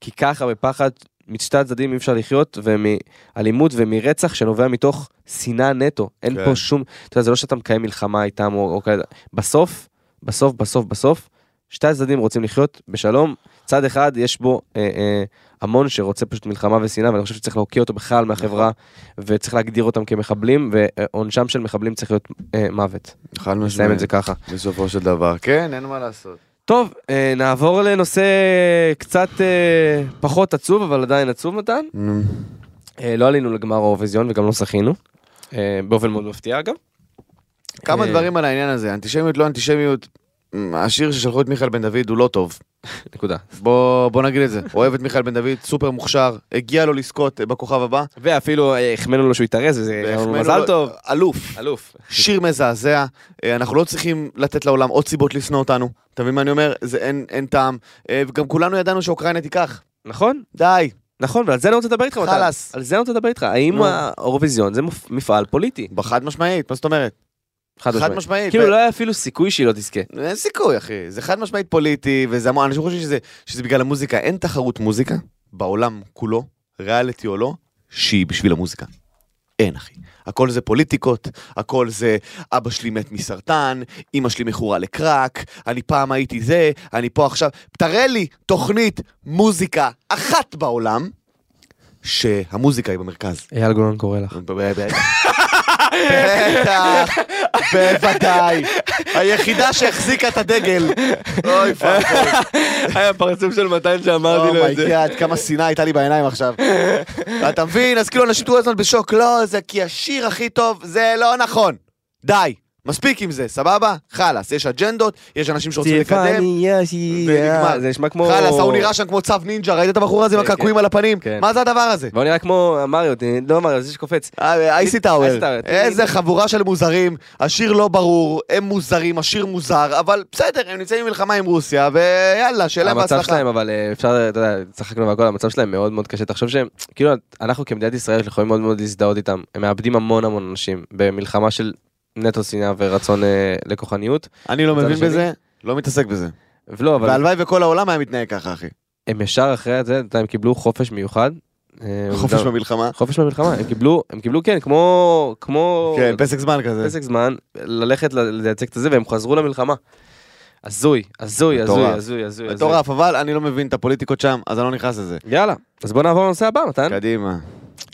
כי ככה בפחד משתי הצדדים אי אפשר לחיות, ומאלימות ומרצח שנובע מתוך שנאה נטו. אין כן. פה שום, אתה יודע, זה לא שאתה מקיים מלחמה איתם או, או כאלה, בסוף, בסוף, בסוף, בסוף, שתי הצדדים רוצים לחיות בשלום. צד אחד יש בו אה, אה, המון שרוצה פשוט מלחמה ושנאה, ואני חושב שצריך להוקיע אותו בכלל מהחברה, וצריך להגדיר אותם כמחבלים, ועונשם של מחבלים צריך להיות אה, מוות. חד נסיים את זה ככה. בסופו של דבר, כן, אין מה לעשות. טוב, אה, נעבור לנושא קצת אה, פחות עצוב, אבל עדיין עצוב מתן. אה, לא עלינו לגמר האירוויזיון וגם לא שחינו. אה, באופן מאוד מפתיע אגב. כמה אה, דברים על העניין הזה, אנטישמיות לא אנטישמיות, מ, השיר ששלחו את מיכאל בן דוד הוא לא טוב. נקודה. בוא בוא נגיד את זה, אוהב את מיכאל בן דוד, סופר מוכשר, הגיע לו לזכות אה, בכוכב הבא. ואפילו אה, החמאנו לו שהוא יתארז, וזה היה לנו והחמאנו אה, מזל לו- טוב. אלוף. אלוף. שיר מזעזע, אה, אנחנו לא צריכים לתת לעולם עוד סיבות לשנוא אותנו. אתה מבין מה אני אומר? זה אין- אין טעם. אה, וגם כולנו ידענו שאוקראינה תיקח. נכון, די. נכון, ועל זה אני רוצה לדבר איתך. מתן. חלאס. על זה אני רוצה לדבר איתך. האם נו. האירוויזיון זה מופ- מפעל פוליטי? חד משמעית, מה זאת אומרת? חד חד משמעית. משמעית. כאילו ו- לא היה אפילו סיכוי שהיא לא תזכה. אין סיכוי, אחי. זה חד משמעית פוליטי, וזה המון, אנשים חושבים שזה, שזה בגלל המוזיקה. אין תחרות מוזיקה בעולם כולו, ריאליטי או לא, שהיא בשביל המוזיקה. אין, אחי. הכל זה פוליטיקות, הכל זה אבא שלי מת מסרטן, אמא שלי מכורה לקרק, אני פעם הייתי זה, אני פה עכשיו. תראה לי תוכנית מוזיקה אחת בעולם, שהמוזיקה היא במרכז. אייל גולן קורא לך. בטח, בטח, בוודאי. היחידה שהחזיקה את הדגל. אוי פאקו, היה פרצוף של מתן שאמרתי לו את זה. אומייגאד, Oh כמה שנאה הייתה לי בעיניים עכשיו. אתה מבין? אז כאילו אנשים כל הזמן בשוק, לא, זה כי השיר הכי טוב, זה לא נכון. די, מספיק עם זה, סבבה? חלאס, יש אג'נדות, יש אנשים שרוצים לקדם. ונגמר. אה, זה נשמע כמו... חלאס, ההוא נראה שם כמו צו נינג'ה, ראית את הבחור הזה עם כן, כן. הקעקועים על הפנים? כן. מה זה הדבר הזה? והוא נראה כמו מריו, לא מריו, זה שקופץ. אה, אייסי טאוור, אייסי טאוור. איזה חבורה של מוזרים, השיר לא ברור, הם מוזרים, השיר מוזר, אבל בסדר, הם נמצאים במלחמה עם רוסיה, ויאללה, שיהיה להם המצב בהצלחה. שלהם, אבל אה, אפשר, אתה יודע, צחקנו והכל, המצב שלהם מאוד מאוד קשה. תחשוב שהם, כאילו, אנחנו כמדינת ישראל יכולים מאוד מאוד להזדהות איתם. הם מאבדים המון המון אנשים במלחמה של נטו שנאה ורצון אה, לכוחניות. אני לא מצד מבין שני. בזה, לא מתעסק בזה. ולא, אבל והלוואי וכל העולם היה מתנהג ככה, אחי. הם ישר אחרי זה, אתה יודע, הם קיבלו חופש מיוחד. אה, חופש עובדה- במלחמה. חופש מהמלחמה. הם קיבלו, הם קיבלו, כן, כמו, כמו, כן, פסק זמן כזה. פסק זמן, ללכת ל- לייצג את זה, והם חזרו למלחמה. הזוי, הזוי, הזוי, מטורף. הזוי, הזוי. מטורף, אבל אני לא מבין את הפוליטיקות שם, אז אני לא נכנס לזה. הזוי. יאללה, אז בוא נעבור לנושא הבא, מתן. קדימה.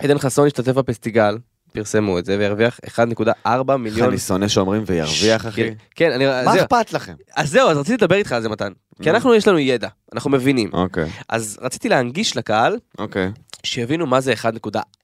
עדן חסון השתתף בפסטיגל, פרסמו את זה, והרוויח 1.4 איך מיליון. אני שונא שאומרים וירוויח, אחי. כן, אני... מה זהו. אכפת לכם? אז זהו, אז רציתי לדבר איתך על זה, מתן. כי אנחנו, יש לנו ידע, אנחנו מבינים. אוקיי, אז רציתי להנגיש לקהל, אוקיי. שיבינו מה זה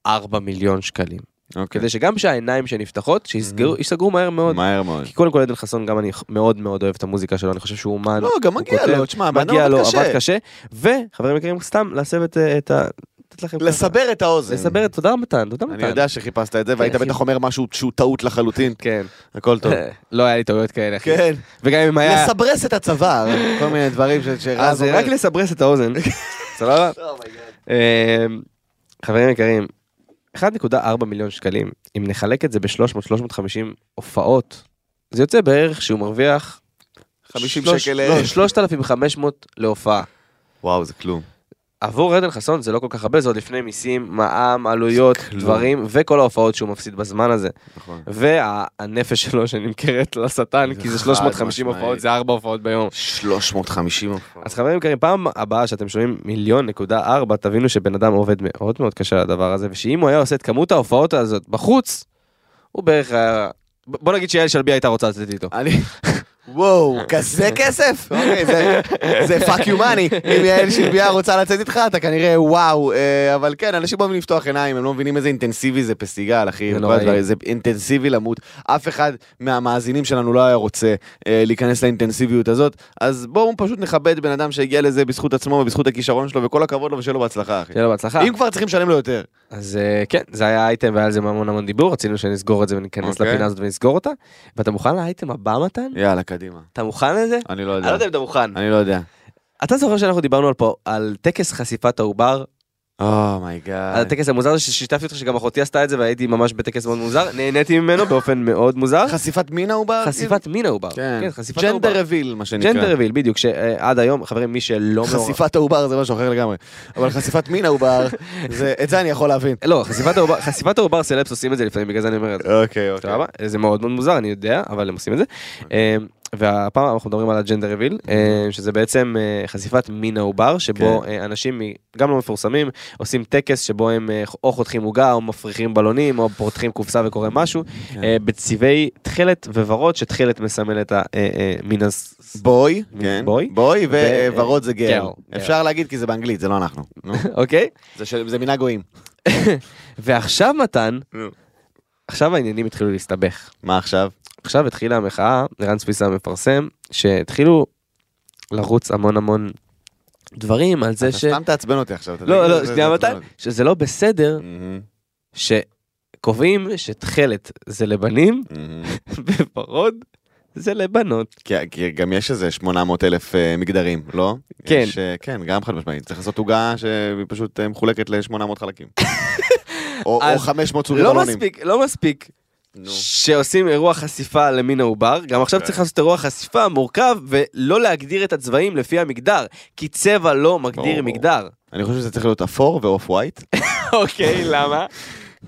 1.4 מיליון שקלים. אוקיי. כדי שגם שהעיניים שנפתחות, Mm-hmm. שיסגרו- ייסגרו מהר מאוד. מהר מאוד. כי קודם כל עדן חסון, גם אני מאוד מאוד אוהב את המוזיקה שלו, אני חושב שהוא אומן. לא, גם הוא מגיע כותב, לו, תשמע, הבן אדם מגיע לו, עבד עבד קשה. קשה. וחברים יקרים, סתם להסב את אה, את ה... לתת לכם ככה. לסבר את האוזן. לסבר, תודה מתן, תודה מתן. אני יודע שחיפשת את זה, והיית אחי. בטח אומר משהו שהוא טעות לחלוטין. כן. הכל טוב. לא היה לי טעויות כאלה, אחי. כן. וגם אם היה... לסברס את הצוואר. כל מיני דברים ש- אז שרז זה אומר. רק לסברס את האוזן. סבבה? אה, חברים יקרים, 1.4 מיליון שקלים, אם נחלק את זה ב-300-350 הופעות, זה יוצא בערך שהוא מרוויח... 50 שלוש- שקל לא, לערב. 3,500 להופעה. וואו, זה כלום. עבור עדן חסון זה לא כל כך הרבה, זה עוד לפני מיסים, מע"מ, עלויות, דברים, וכל ההופעות שהוא מפסיד בזמן הזה. נכון. והנפש שלו שנמכרת לשטן, זה כי זה חד 350 משמעית. הופעות, זה 4 הופעות ביום. 350 הופעות. אז חברים יקרים, פעם הבאה שאתם שומעים מיליון נקודה ארבע, תבינו שבן אדם עובד מאוד מאוד קשה על הדבר הזה, ושאם הוא היה עושה את כמות ההופעות הזאת בחוץ, הוא בערך היה... ב- בוא נגיד שיעל שלבי הייתה רוצה לצאת איתו. אני... וואו, כזה כסף? אוקיי, זה- זה פאק יו מאני. אם יעל שלביה רוצה לצאת איתך, אתה כנראה וואו. אה, אבל כן, אנשים אוהבים לפתוח עיניים, הם לא מבינים איזה אינטנסיבי זה פסטיגל, אחי. כל זה לא נוראי. הדברים, זה אינטנסיבי למות. אף אחד מהמאזינים שלנו לא היה רוצה אה, להיכנס לאינטנסיביות הזאת, אז בואו פשוט נכבד בן אדם שהגיע לזה בזכות עצמו ובזכות הכישרון שלו, וכל הכבוד לו ושיהיה לו בהצלחה, אחי. שיהיה לו בהצלחה. אם כבר צריכים לשלם לו יותר. אז אה, כן, זה היה אייטם והיה על זה המון המון דיבור, רצינו שנסגור את זה וניכנס אוקיי. לפינה הזאת ונסגור אותה. ואתה מוכן לאייטם הבא מתן? יאללה, קדימה. אתה מוכן לזה? אני לא אני לא יודע. יודע אם אתה מוכן. אני לא יודע. אתה זוכר שאנחנו דיברנו על פה, על טקס חשיפת העובר, Oh על אומייגאד. הטקס המוזר הזה ששיתפתי אותך שגם אחותי עשתה את זה והייתי ממש בטקס מאוד מוזר, נהניתי ממנו באופן מאוד מוזר. חשיפת מין העובר? חשיפת מין העובר. כן, כן, חשיפת העובר. ג'נדר רוויל, מה שנקרא. ג'נדר רוויל, בדיוק, שעד היום, חברים, מי שלא מעורב... חשיפת העובר זה משהו אחר לגמרי. אבל חשיפת מין העובר, זה- את זה אני יכול להבין. לא, חשיפת העובר- חשיפת העובר סלפס עושים את זה לפעמים, בגלל זה אני אומר את זה. אוקיי, אוקיי. סבבה? זה מאוד מאוד מוזר, אני יודע, אבל הם עושים את זה. אמ, והפעם אנחנו מדברים על הג'נדר רוויל, אמ, שזה בעצם אה, חשיפת מין העובר, כן. שבו אה, אנשים מ- גם לא מפורסמים עושים טקס שבו הם אה, או חותכים עוגה, או מפריחים בלונים, או פותחים קופסה וקורה משהו, כן. אה, בצבעי תכלת וורוד, שתכלת מסמל את המין הס... בוי, מ- כן. בוי. בוי ו- וורוד זה גר. גר. אפשר להגיד כי זה באנגלית, זה לא אנחנו. נו. אוקיי? זה של- זה מנהג גויים. ועכשיו מתן, נו. עכשיו העניינים התחילו להסתבך. מה עכשיו? עכשיו התחילה המחאה, ערן סוויסה מפרסם, שהתחילו לרוץ המון המון דברים על זה אתה ש... סתם תעצבן אותי עכשיו. אתה לא, תגיד, לא, זה- שנייה זה מתי? עצבן אותי. שזה לא בסדר מהמם, שקובעים שתכלת זה לבנים מהמם. וורוד זה לבנות. כי- כי גם יש איזה 800 אלף מגדרים, לא? כן. יש, אה, כן, גם חד משמעית. צריך לעשות עוגה שפשוט מחולקת ל-800 חלקים. או או אז 500 סוגי לא בלונים. מספיק, לא מספיק נו. שעושים אירוע חשיפה למין העובר, גם עכשיו כן. צריך לעשות אירוע חשיפה מורכב ולא להגדיר את הצבעים לפי המגדר, כי צבע לא מגדיר ברור. מגדר. אני חושב שזה צריך להיות אפור ואוף ווייט, אוקיי, למה?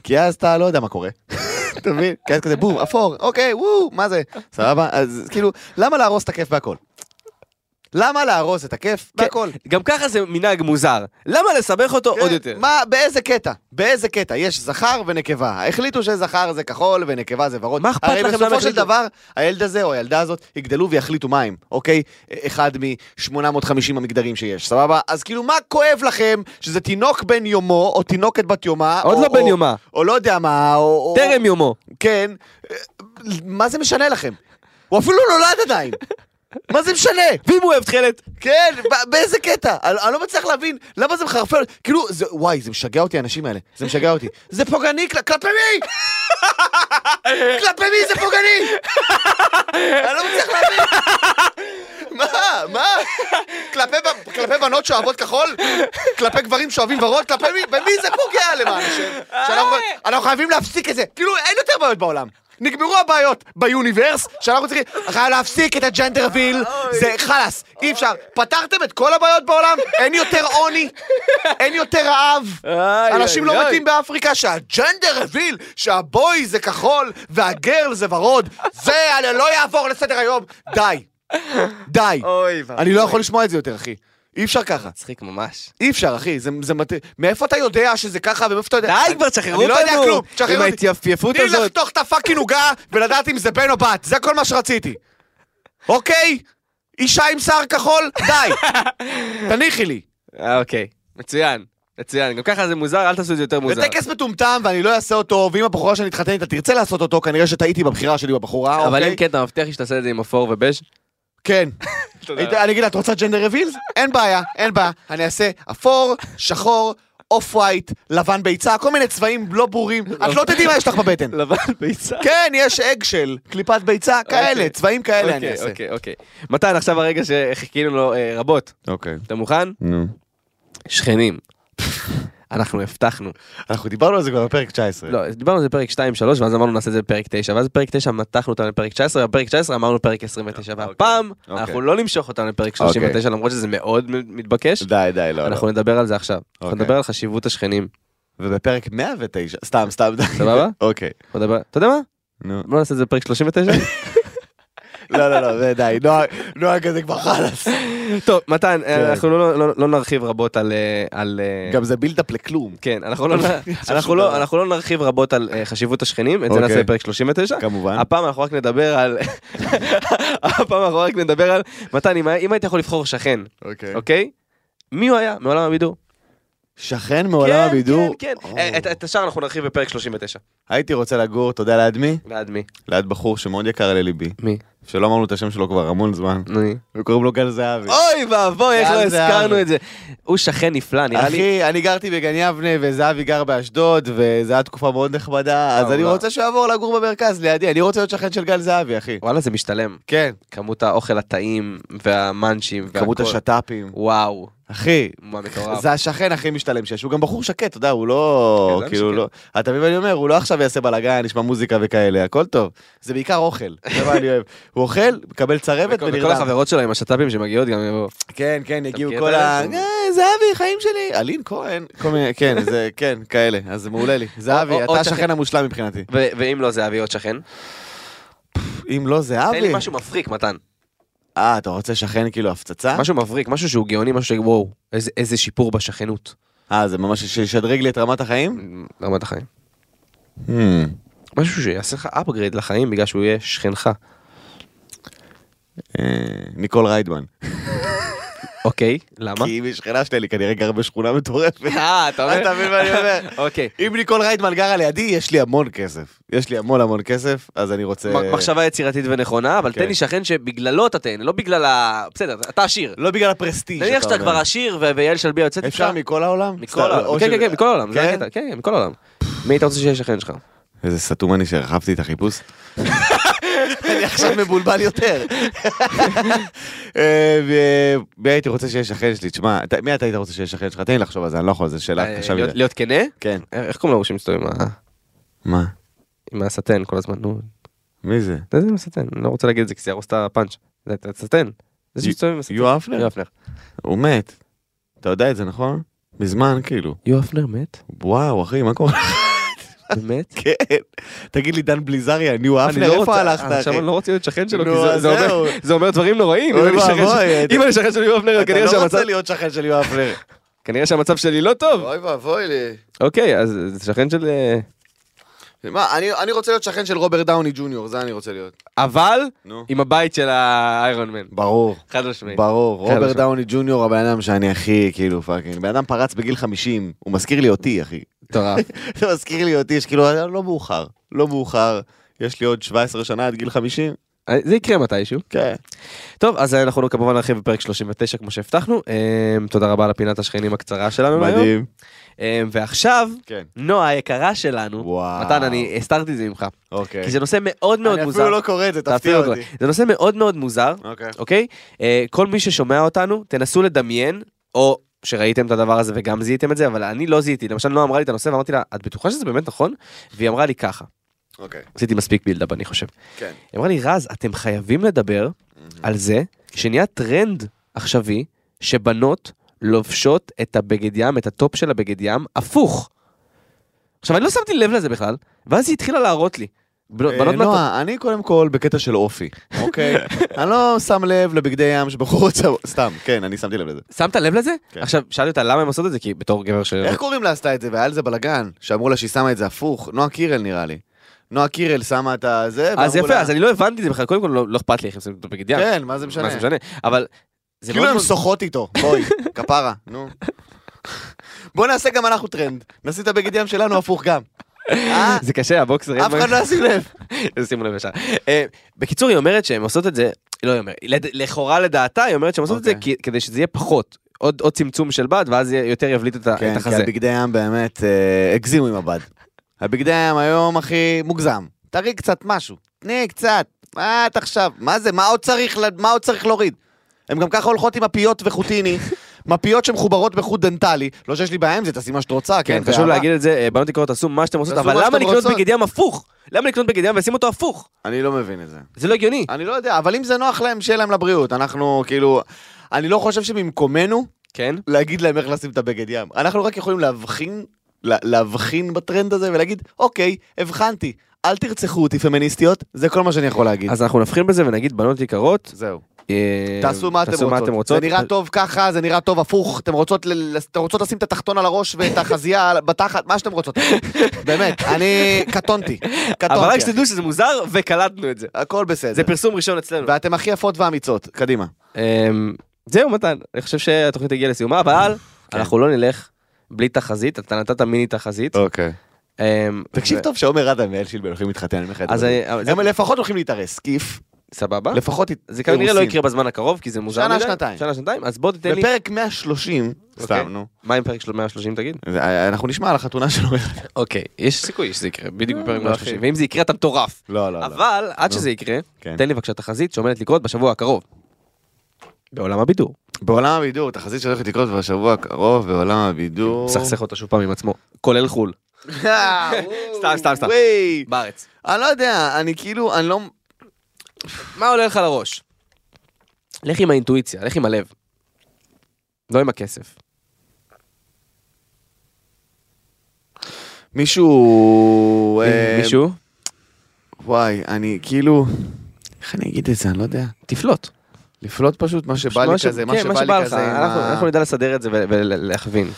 כי אז אתה לא יודע מה קורה. אתה מבין? כי אז כזה בום, אפור, אוקיי, וואו, מה זה? סבבה? אז כאילו, למה להרוס את הכיף בהכל? למה להרוס את הכיף בהכל? גם ככה זה מנהג מוזר, למה לסבך אותו עוד כן, יותר? מה, באיזה קטע? באיזה קטע? יש זכר ונקבה. החליטו שזכר זה כחול ונקבה זה ורוד. מה אכפת הרי לכם למה בסופו של החליטו? דבר, הילד הזה או הילדה הזאת יגדלו ויחליטו מה הם, אוקיי? אחד מ-850 המגדרים שיש, סבבה? אז כאילו, מה כואב לכם שזה תינוק בן יומו, או תינוקת בת יומה, עוד או- לא בן או- יומה, או לא יודע מה, או... או- טרם יומו. כן. אה, מה זה משנה לכם? הוא אפילו לא נולד עדיין. מה זה משנה? ואם הוא אוהב תכלת, כן, ב- באיזה קטע? אני, אני לא מצליח להבין למה זה מחרפן, כאילו, זה, וואי, זה משגע אותי האנשים האלה, זה משגע אותי. זה פוגעני כל- כלפי מי? כלפי מי זה פוגעני? אני לא מצליח להבין. מה, מה? כלפי, ב- כלפי בנות שאוהבות כחול? כלפי גברים שאוהבים ורוד? כלפי מי? במי זה פוגע למען השם? שאנחנו- אנחנו חייבים להפסיק את זה. כאילו, אין יותר בעיות בעולם. נגמרו הבעיות ביוניברס, שאנחנו צריכים, חייב להפסיק את הג'נדר ויל, זה חלאס, אי אפשר. פתרתם את כל הבעיות בעולם? אין יותר עוני, אין יותר רעב. איי, אנשים איי, לא איי. מתים באפריקה שהג'נדר הביל שהבוי זה כחול והגרל זה ורוד. זה אני לא יעבור לסדר היום. די. די. אוי אני לא יכול לשמוע את זה יותר, אחי. אי אפשר ככה. מצחיק ממש. אי אפשר, אחי. זה, זה מת... מאיפה אתה יודע שזה ככה ומאיפה אתה יודע... די אני- כבר, שחררו אני לא יודע אותנו. כלום. שחררו עם אותי. ההתייפייפות תני לי הזאת. לחתוך את הפאקינג עוגה ולדעת אם זה בן או בת. זה כל מה שרציתי. אוקיי? אישה עם שיער כחול? די. תניחי לי. אה, אוקיי, מצוין. מצוין, גם ככה זה מוזר, אל תעשו את זה יותר זה מוזר. אוקיי. טקס מטומטם ואני לא אעשה אותו, ואם הבחורה שאני אתחתן איתה תרצה לעשות אותו, כנראה שטעיתי בבחירה שלי בבחורה, אבל אוקיי? אם כן, אתה מבטיח לי שתעשה את זה עם אפור ובז'? כן. תודה. היית- אני אגיד לה, את רוצה ג'נדר רווילס? אין בעיה, אין בעיה. אני אעשה אפור, שחור, אוף ווייט, לבן ביצה, כל מיני צבעים לא ברורים. את לא תדעי מה יש לך בבטן. לבן ביצה. כן, יש אג של, קליפת ביצה, כאלה, צבעים כאלה אני אוקיי, אעשה. אוקיי, אוקיי. מתן, עכשיו הרגע שחיכינו לו אה, רבות. אוקיי. אתה מוכן? נו. שכנים. אנחנו הבטחנו. אנחנו דיברנו על זה כבר בפרק 19. לא, דיברנו על זה בפרק 2-3, ואז אמרנו נעשה את זה בפרק 9, ואז בפרק 9 מתחנו אותנו לפרק 19, ובפרק 19 אמרנו פרק 29, והפעם אוקיי. אנחנו לא נמשוך אותנו לפרק 39, למרות שזה מאוד מ- מתבקש. די, די, לא, לא. אנחנו נדבר על זה עכשיו. אנחנו אוקיי. נדבר על חשיבות השכנים. ובפרק 109, סתם, סתם. די. סבבה? אוקיי. אנחנו נדבר- אתה יודע מה? נו. בוא נעשה את זה בפרק 39. לא, לא, לא, זה די, נועה- נועה כזה כבר חלאס. טוב, מתן, אה, כן. אנחנו לא- לא- לא נרחיב רבות על... אה, על, אה, גם זה בילדאפ לכלום. כן, אנחנו לא- עכשיו אנחנו שום לא- דבר. אנחנו לא נרחיב רבות על אה, חשיבות השכנים, את זה אוקיי. נעשה בפרק 39. כמובן. הפעם אנחנו רק נדבר על... הפעם אנחנו רק נדבר על... מתן, אם היה- אם היית יכול לבחור שכן, אוקיי. אוקיי? מי הוא היה מעולם הבידור? שכן מעולם כן, הבידור. כן, כן. או. אה, את- את השאר אנחנו נרחיב בפרק 39. הייתי רוצה לגור, אתה יודע ליד מי? ליד מי? ליד בחור שמאוד יקר לליבי, מי? שלא אמרנו את השם שלו כבר המון זמן, וקוראים לו גל זהבי. אוי ואבוי, איך גל לא זהבי. הזכרנו את זה. הוא שכן נפלא, נראה לי. אחי, אני גרתי בגן יבנה וזהבי גר באשדוד, וזו הייתה תקופה מאוד נחמדה, אז וואלה. אני רוצה שהוא יעבור לגור במרכז לידי, אני רוצה להיות שכן של גל זהבי, אחי. וואלה, זה משתלם. כן. כמות האוכל הטעים והמאנצ'ים. כמות והכל. השת"פים. וואו, אחי, מה מטורף. זה השכן הכי משתלם שיש, הוא גם בחור שקט, אתה יודע, הוא לא, כן, זה כאילו משקר. לא, אתה מבין מה אני אומר, הוא לא עכשיו יעשה בלאגן, ישמע מוזיקה וכאלה, הכל טוב, זה בעיקר אוכל, זה מה אני אוהב, הוא אוכל, מקבל צרבת וכל וכל ונרדם, החברות שלו עם השת"פים שמגיעות גם יבואו. כן, כן, הגיעו מכיר את כל ה... האלה? "אה, זהבי, חיים שלי, אלין כהן, כל מיני, כן, זה, כן, כאלה, אז זה מעולה לי, או- זהבי, או אתה שכן. השכן המושלם מבחינתי, ו- ואם לא זה אבי עוד שכן? אם לא תן לי זהבי, משהו מפריק, מתן. אה, אתה רוצה שכן כאילו הפצצה? משהו מבריק, משהו שהוא גאוני, משהו שוואו, איזה- איזה שיפור בשכנות. אה, זה ממש שישדרג לי את רמת החיים? רמת החיים. משהו שיעשה לך upgrade לחיים בגלל שהוא יהיה שכנך. אה, ניקול ריידמן, אוקיי, למה? כי היא שכנה שלי, כנראה גר בשכונה מטורפת. אה, אתה אתה מבין מה אני אומר? אוקיי. אם ניקול ריידמן גרה לידי, יש לי המון כסף. יש לי המון המון כסף, אז אני רוצה... מ- מחשבה יצירתית ונכונה, אבל כן. תן לי שכן שבגללו אתה תהנה, לא בגלל ה... בסדר, אתה עשיר. לא בגלל הפרסטיג' נניח שאתה אומר. כבר עשיר ו- ויעל שלביה יוצאת איתך. אפשר מכל העולם? מכל סתם, או העולם. כן, ש- כן, כן, מכל העולם, זה כן? הקטע, כן, כן, מכל העולם. מי היית רוצה שיהיה שכן שלך? איזה סתום אני שהרחבתי את החיפוש. אני עכשיו מבולבל יותר. אה, ו- מי הייתי רוצה שיהיה שכן שלי? תשמע, אתה- מי אתה היית רוצה שיהיה שכן שלך? תן לי לחשוב על זה, אני לא יכול, זו שאלה אה, קשה להיות- מדי. להיות כנה? כן. אה, איך קוראים לו שמסתובב עם ה- מה? עם הסטן כל הזמן? נו, מי זה? אתה יודע, עם הסטן, אני לא רוצה להגיד את זה כי זה יהרוס את הפאנץ'. זה אתה סטן. זה שמסתובב עם הסטן. יו אפנר? יואב נר. הוא מת. אתה יודע את זה, נכון? מזמן, כאילו. יואב נר מת? וואו, אחי, מה קורה? באמת? כן. תגיד לי, דן בליזריה, ניו אני לא אפנר, איפה רוצה- הלכת, עכשיו אחי? אני לא רוצה להיות שכן שלו, כי נו, זה- אז זה אומר- זהו. זה אומר דברים נוראים. אם אוי אני שכן ואבוי, של- אתה- אם אני שכן של יואב נר, אתה כנראה לא שהמצב- רוצה להיות שכן של יואב נר. כנראה שהמצב שלי לא טוב. אוי ואבוי לי. אוקיי, אז זה שכן של... אה, מה, אני- אני רוצה להיות שכן של רוברט דאוני ג'וניור, זה אני רוצה להיות. אבל, נו. עם הבית של האיירון מן. ברור. חד משמעית. ברור, כן, רוברט עכשיו. דאוני ג'וניור הבן אדם שאני הכי כאילו פאקינג, בן אדם פרץ בגיל 50, הוא מזכיר לי אותי אחי, מטורף. זה מזכיר לי אותי, שכאילו לא מאוחר, לא מאוחר, יש לי עוד 17 שנה עד גיל 50, אה, זה יקרה מתישהו. כן, טוב, אז אה, אנחנו כמובן נרחיב בפרק 39 כמו שהבטחנו. אה, תודה רבה על הפינת השכנים הקצרה שלנו היום. מדהים, אה, ועכשיו, לא, כן, נועה היקרה שלנו, וואו, מתן, אני הסתרתי את זה ממך, אוקיי, כי זה נושא מאוד מאוד אני מוזר. אפילו לא קורא את זה, אתה תפתיע אפילו לא אותי, קורא. זה נושא מאוד מאוד מוזר, אוקיי, אוקיי? אה, כל מי ששומע אותנו, תנסו לדמיין, או שראיתם את הדבר הזה וגם זיהיתם את זה, אבל אני לא זיהיתי. למשל, נועה אמרה לי את הנושא ואמרתי לה, את בטוחה שזה באמת נכון? והיא אמרה לי ככה, אוקיי, עשיתי מספיק בילדאפ, אני חושב. כן, היא אמרה לי, רז, אתם חייבים לדבר על זה שנהיה טרנד עכשווי, שבנות לובשות את הבגד ים, את הטופ של הבגד ים, הפוך. עכשיו, אני לא שמתי לב לזה בכלל, ואז היא התחילה להראות לי. לא, בנות אה, בנות מהטופ- נועה, אני קודם כל בקטע של אופי, אוקיי? אני לא שם לב לבגדי ים שבחורות שמו, סתם, כן, אני שמתי לב לזה. שמת לב לזה? כן. עכשיו, שאלתי אותה למה הם עושות את זה, כי בתור גבר ש... איך קוראים לה עשתה את זה? והיה על זה בלאגן, שאמרו לה שהיא שמה את זה הפוך, נועה קירל נראה לי. נועה קירל שמה את הזה, אז ואמרו יפה, לה- אז אני לא הבנתי את זה בכלל, קודם כל לא לא אכפת לי איך הם שמים את הבגד ים. כן, מה זה משנה? מה זה משנה? אבל... זה כאילו מאוד הן מאוד- שוחות איתו, בואי, כפרה, נו. בוא נעשה גם אנחנו טרנד. נשים את הבגד ים שלנו הפוך גם. אה? זה קשה, הבוקסר... אין אף מה- אחד לא ישים לב. אז שימו לב ישר. אה, בקיצור, היא אומרת שהן עושות את זה, לא היא אומרת, לד- לכאורה לדעתה, היא אומרת שהן עושות את זה אוקיי. כי- כדי שזה יהיה פחות, עוד עוד צמצום של בד, ואז יהיה- יותר יבליט את ה- את כן, כי החזה. הבגדי ים באמת אה, הגזימו עם הבד. הבגדי ים היום הכי מוגזם. תראי קצת משהו, תני קצת. מה את עכשיו? מה זה? מה עוד צריך, ל- מה עוד צריך להוריד? הם גם ככה הולכות עם מפיות וחוטיני, מפיות שמחוברות בחוט דנטלי. לא שיש לי בעיה עם זה, תעשי מה שאת רוצה, כן? כן, חשוב באהבה. להגיד את זה, אה, בנות יקרות עשו מה שאתם עושות, תעשו אבל מה למה שאתם לקנות רוצות. בגד ים הפוך? למה לקנות בגד ים ולשים אותו הפוך? אני לא מבין את זה. זה לא הגיוני. אני לא יודע, אבל אם זה נוח להם, שיהיה להם לבריאות. אנחנו כאילו... אני לא חושב שבמקומנו כן? להגיד להם איך לשים את הבגד ים. אנחנו רק יכולים להבחין, לה, להבחין בטרנד הזה ולהגיד, אוקיי, הבחנתי, אל תרצחו אותי פמיניסטיות, זה כל מה שאני יכול להגיד. אז... אז אנחנו נבחין בזה ונגיד, בנות יקרות, זהו. אה, תעשו מה אתם רוצות. זה נראה פ- טוב ככה, זה נראה טוב הפוך, אתם רוצות, ל... אתם רוצות לשים את התחתון על הראש ואת החזייה על- בתחת, מה שאתם רוצות. באמת, אני קטונתי. קטונתי. אבל רק אחי. שתדעו שזה מוזר, וקלטנו את זה. הכל בסדר. זה פרסום ראשון אצלנו. ואתם הכי יפות ואמיצות, קדימה. אמ, זהו מתן, אני חושב שהתוכנית הגיעה לסיומה, אבל כן. אנחנו לא נלך בלי תחזית, אתה נתת מיני תחזית. אוקיי. אמ, תקשיב ו- טוב שעומר אדם ואל שילבל הולכים להתחתן, אני אומר לך את אז זה. אני- אבל זה- הם לפחות הולכים להתארס, כיף. סבבה. לפחות זה כנראה לא אירוסין. יקרה בזמן הקרוב, כי זה מוזר שנה, מדי. שנתיים. שנה, שנתיים. אז בוא תיתן לי... בפרק 130, אוקיי. סתם, נו. מה עם פרק של 130 תגיד? זה- אה, אנחנו נשמע על החתונה שלו. אוקיי, יש סיכוי שזה יקרה, בדיוק בפרק לא, 130. אחי. ואם זה יקרה אתה מטורף. לא, לא, לא. אבל עד שזה יקרה, כן. תן לי בבקשה תחזית שעומדת לקרות בשבוע הקרוב. בעולם הבידור. בעולם הבידור, תחזית שהולכת לקרות בשבוע הקרוב, בעולם הבידור. מסכסך אותה שוב פעם עם עצמו, כולל חו"ל. סתם, סתם, סתם. וואי. בארץ. אני לא יודע, אני כאילו, אני לא... מה עולה לך לראש? לך עם האינטואיציה, לך עם הלב. לא עם הכסף. מישהו... אה, מישהו? וואי, אני כאילו... איך אני אגיד את זה? אני לא יודע. תפלוט. לפלוט פשוט מה שבא לי מה ש- כזה, מה כן, שבא לי לך. כזה. עם אנחנו- ה- אנחנו נדע לסדר את זה ו- ולהכווין.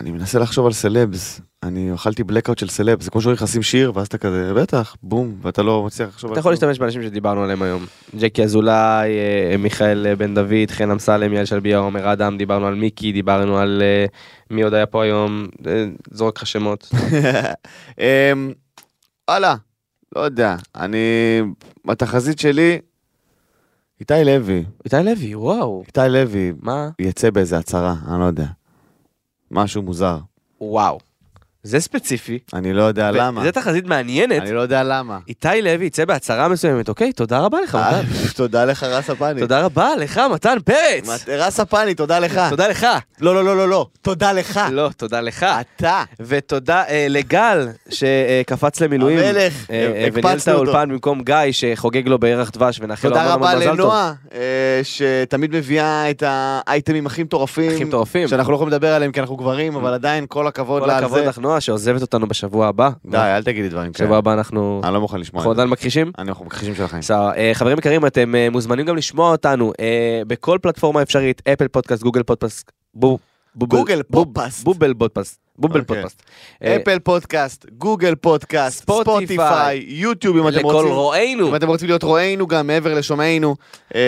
אני מנסה לחשוב על סלבס. אני אכלתי בלקאוט של סלבס, זה כמו שאומרים לך שים שיר, ואז אתה כזה, בטח, בום, ואתה לא מצליח לחשוב על... אתה יכול כלום. להשתמש באנשים שדיברנו עליהם היום. ג'קי אזולאי, אה, מיכאל אה, בן דוד, חן אמסלם, יעל שלביה, עומר אדם, דיברנו על מיקי, דיברנו על אה, מי עוד היה פה היום, אה, זורק לך שמות. אמ, וואלה, לא יודע, אני... התחזית שלי, איתי לוי, איתי לוי, וואו. איתי לוי מה? יצא באיזה הצהרה, אני לא יודע. משהו מוזר. וואו. זה ספציפי. אני לא יודע למה. זה תחזית מעניינת. אני לא יודע למה. איתי לוי יצא בהצהרה מסוימת, אוקיי? תודה רבה לך, אה, מתן. תודה לך, רס הפאני. תודה רבה לך, מתן פרץ. מת- רס הפאני, תודה לך. תודה לך. לא, לא, לא, לא, לא. אה, תודה לך. לא, תודה לך. אתה. ותודה אה, לגל שקפץ למילואים. המלך, אה, אה, הקפצנו וניהל את האולפן אותו. במקום גיא שחוגג לו בירח דבש ונאחל לו תודה המון המון רבה לא מזל טוב. לנועה, אה, שתמיד מביאה את האייטמים הכי מטורפים. הכי מטורפים. שאנחנו לא יכולים לדבר עליהם כי אנחנו גברים, אבל עדיין כל הכבוד כל לה על הכבוד זה. לך נועה שעוזבת אותנו בשבוע הבא. די, אל תגידי דברים כאלה. בשבוע הבא אנחנו... אני לא מוכן לשמוע אנחנו את זה. עדיין מכחישים? אני- אנחנו מכחישים של החיים. בסדר, אה, חברים יקרים, אתם אה, מוזמנים גם לשמוע אותנו אה, בכל פלטפורמה אפשרית, אפל פודקאסט, גוגל פודקאסט, בוב- בובל- גוגל בוב- פודקאסט. בובל פודקאסט, בובל אוקיי. פודקאסט. אה, אפל פודקאסט, גוגל פודקאסט, ספוטיפיי, ספוטיפיי, יוטיוב אם אתם לכל רוצים. רואינו. אם אתם רוצים להיות רואינו גם מעבר לשומעינו. אה,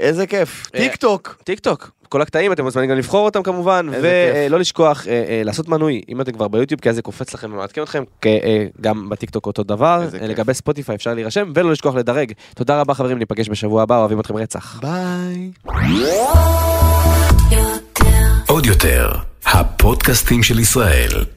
איזה כיף. אה, טיק טוק. טיק טוק, כל הקטעים, אתם מוזמנים גם לבחור אותם כמובן, איזה כיף. ולא לשכוח אה, אה, לעשות מנוי, אם אתם כבר ביוטיוב, כי אז זה קופץ לכם ומעדכן אתכם, כ- אה, גם בטיק טוק אותו דבר, איזה אה, כיף. לגבי ספוטיפיי אפשר להירשם, ולא לשכוח לדרג. תודה רבה חברים, ניפגש בשבוע הבא, אוהבים אתכם רצח. ביי. עוד יותר, הפודקאסטים של ישראל.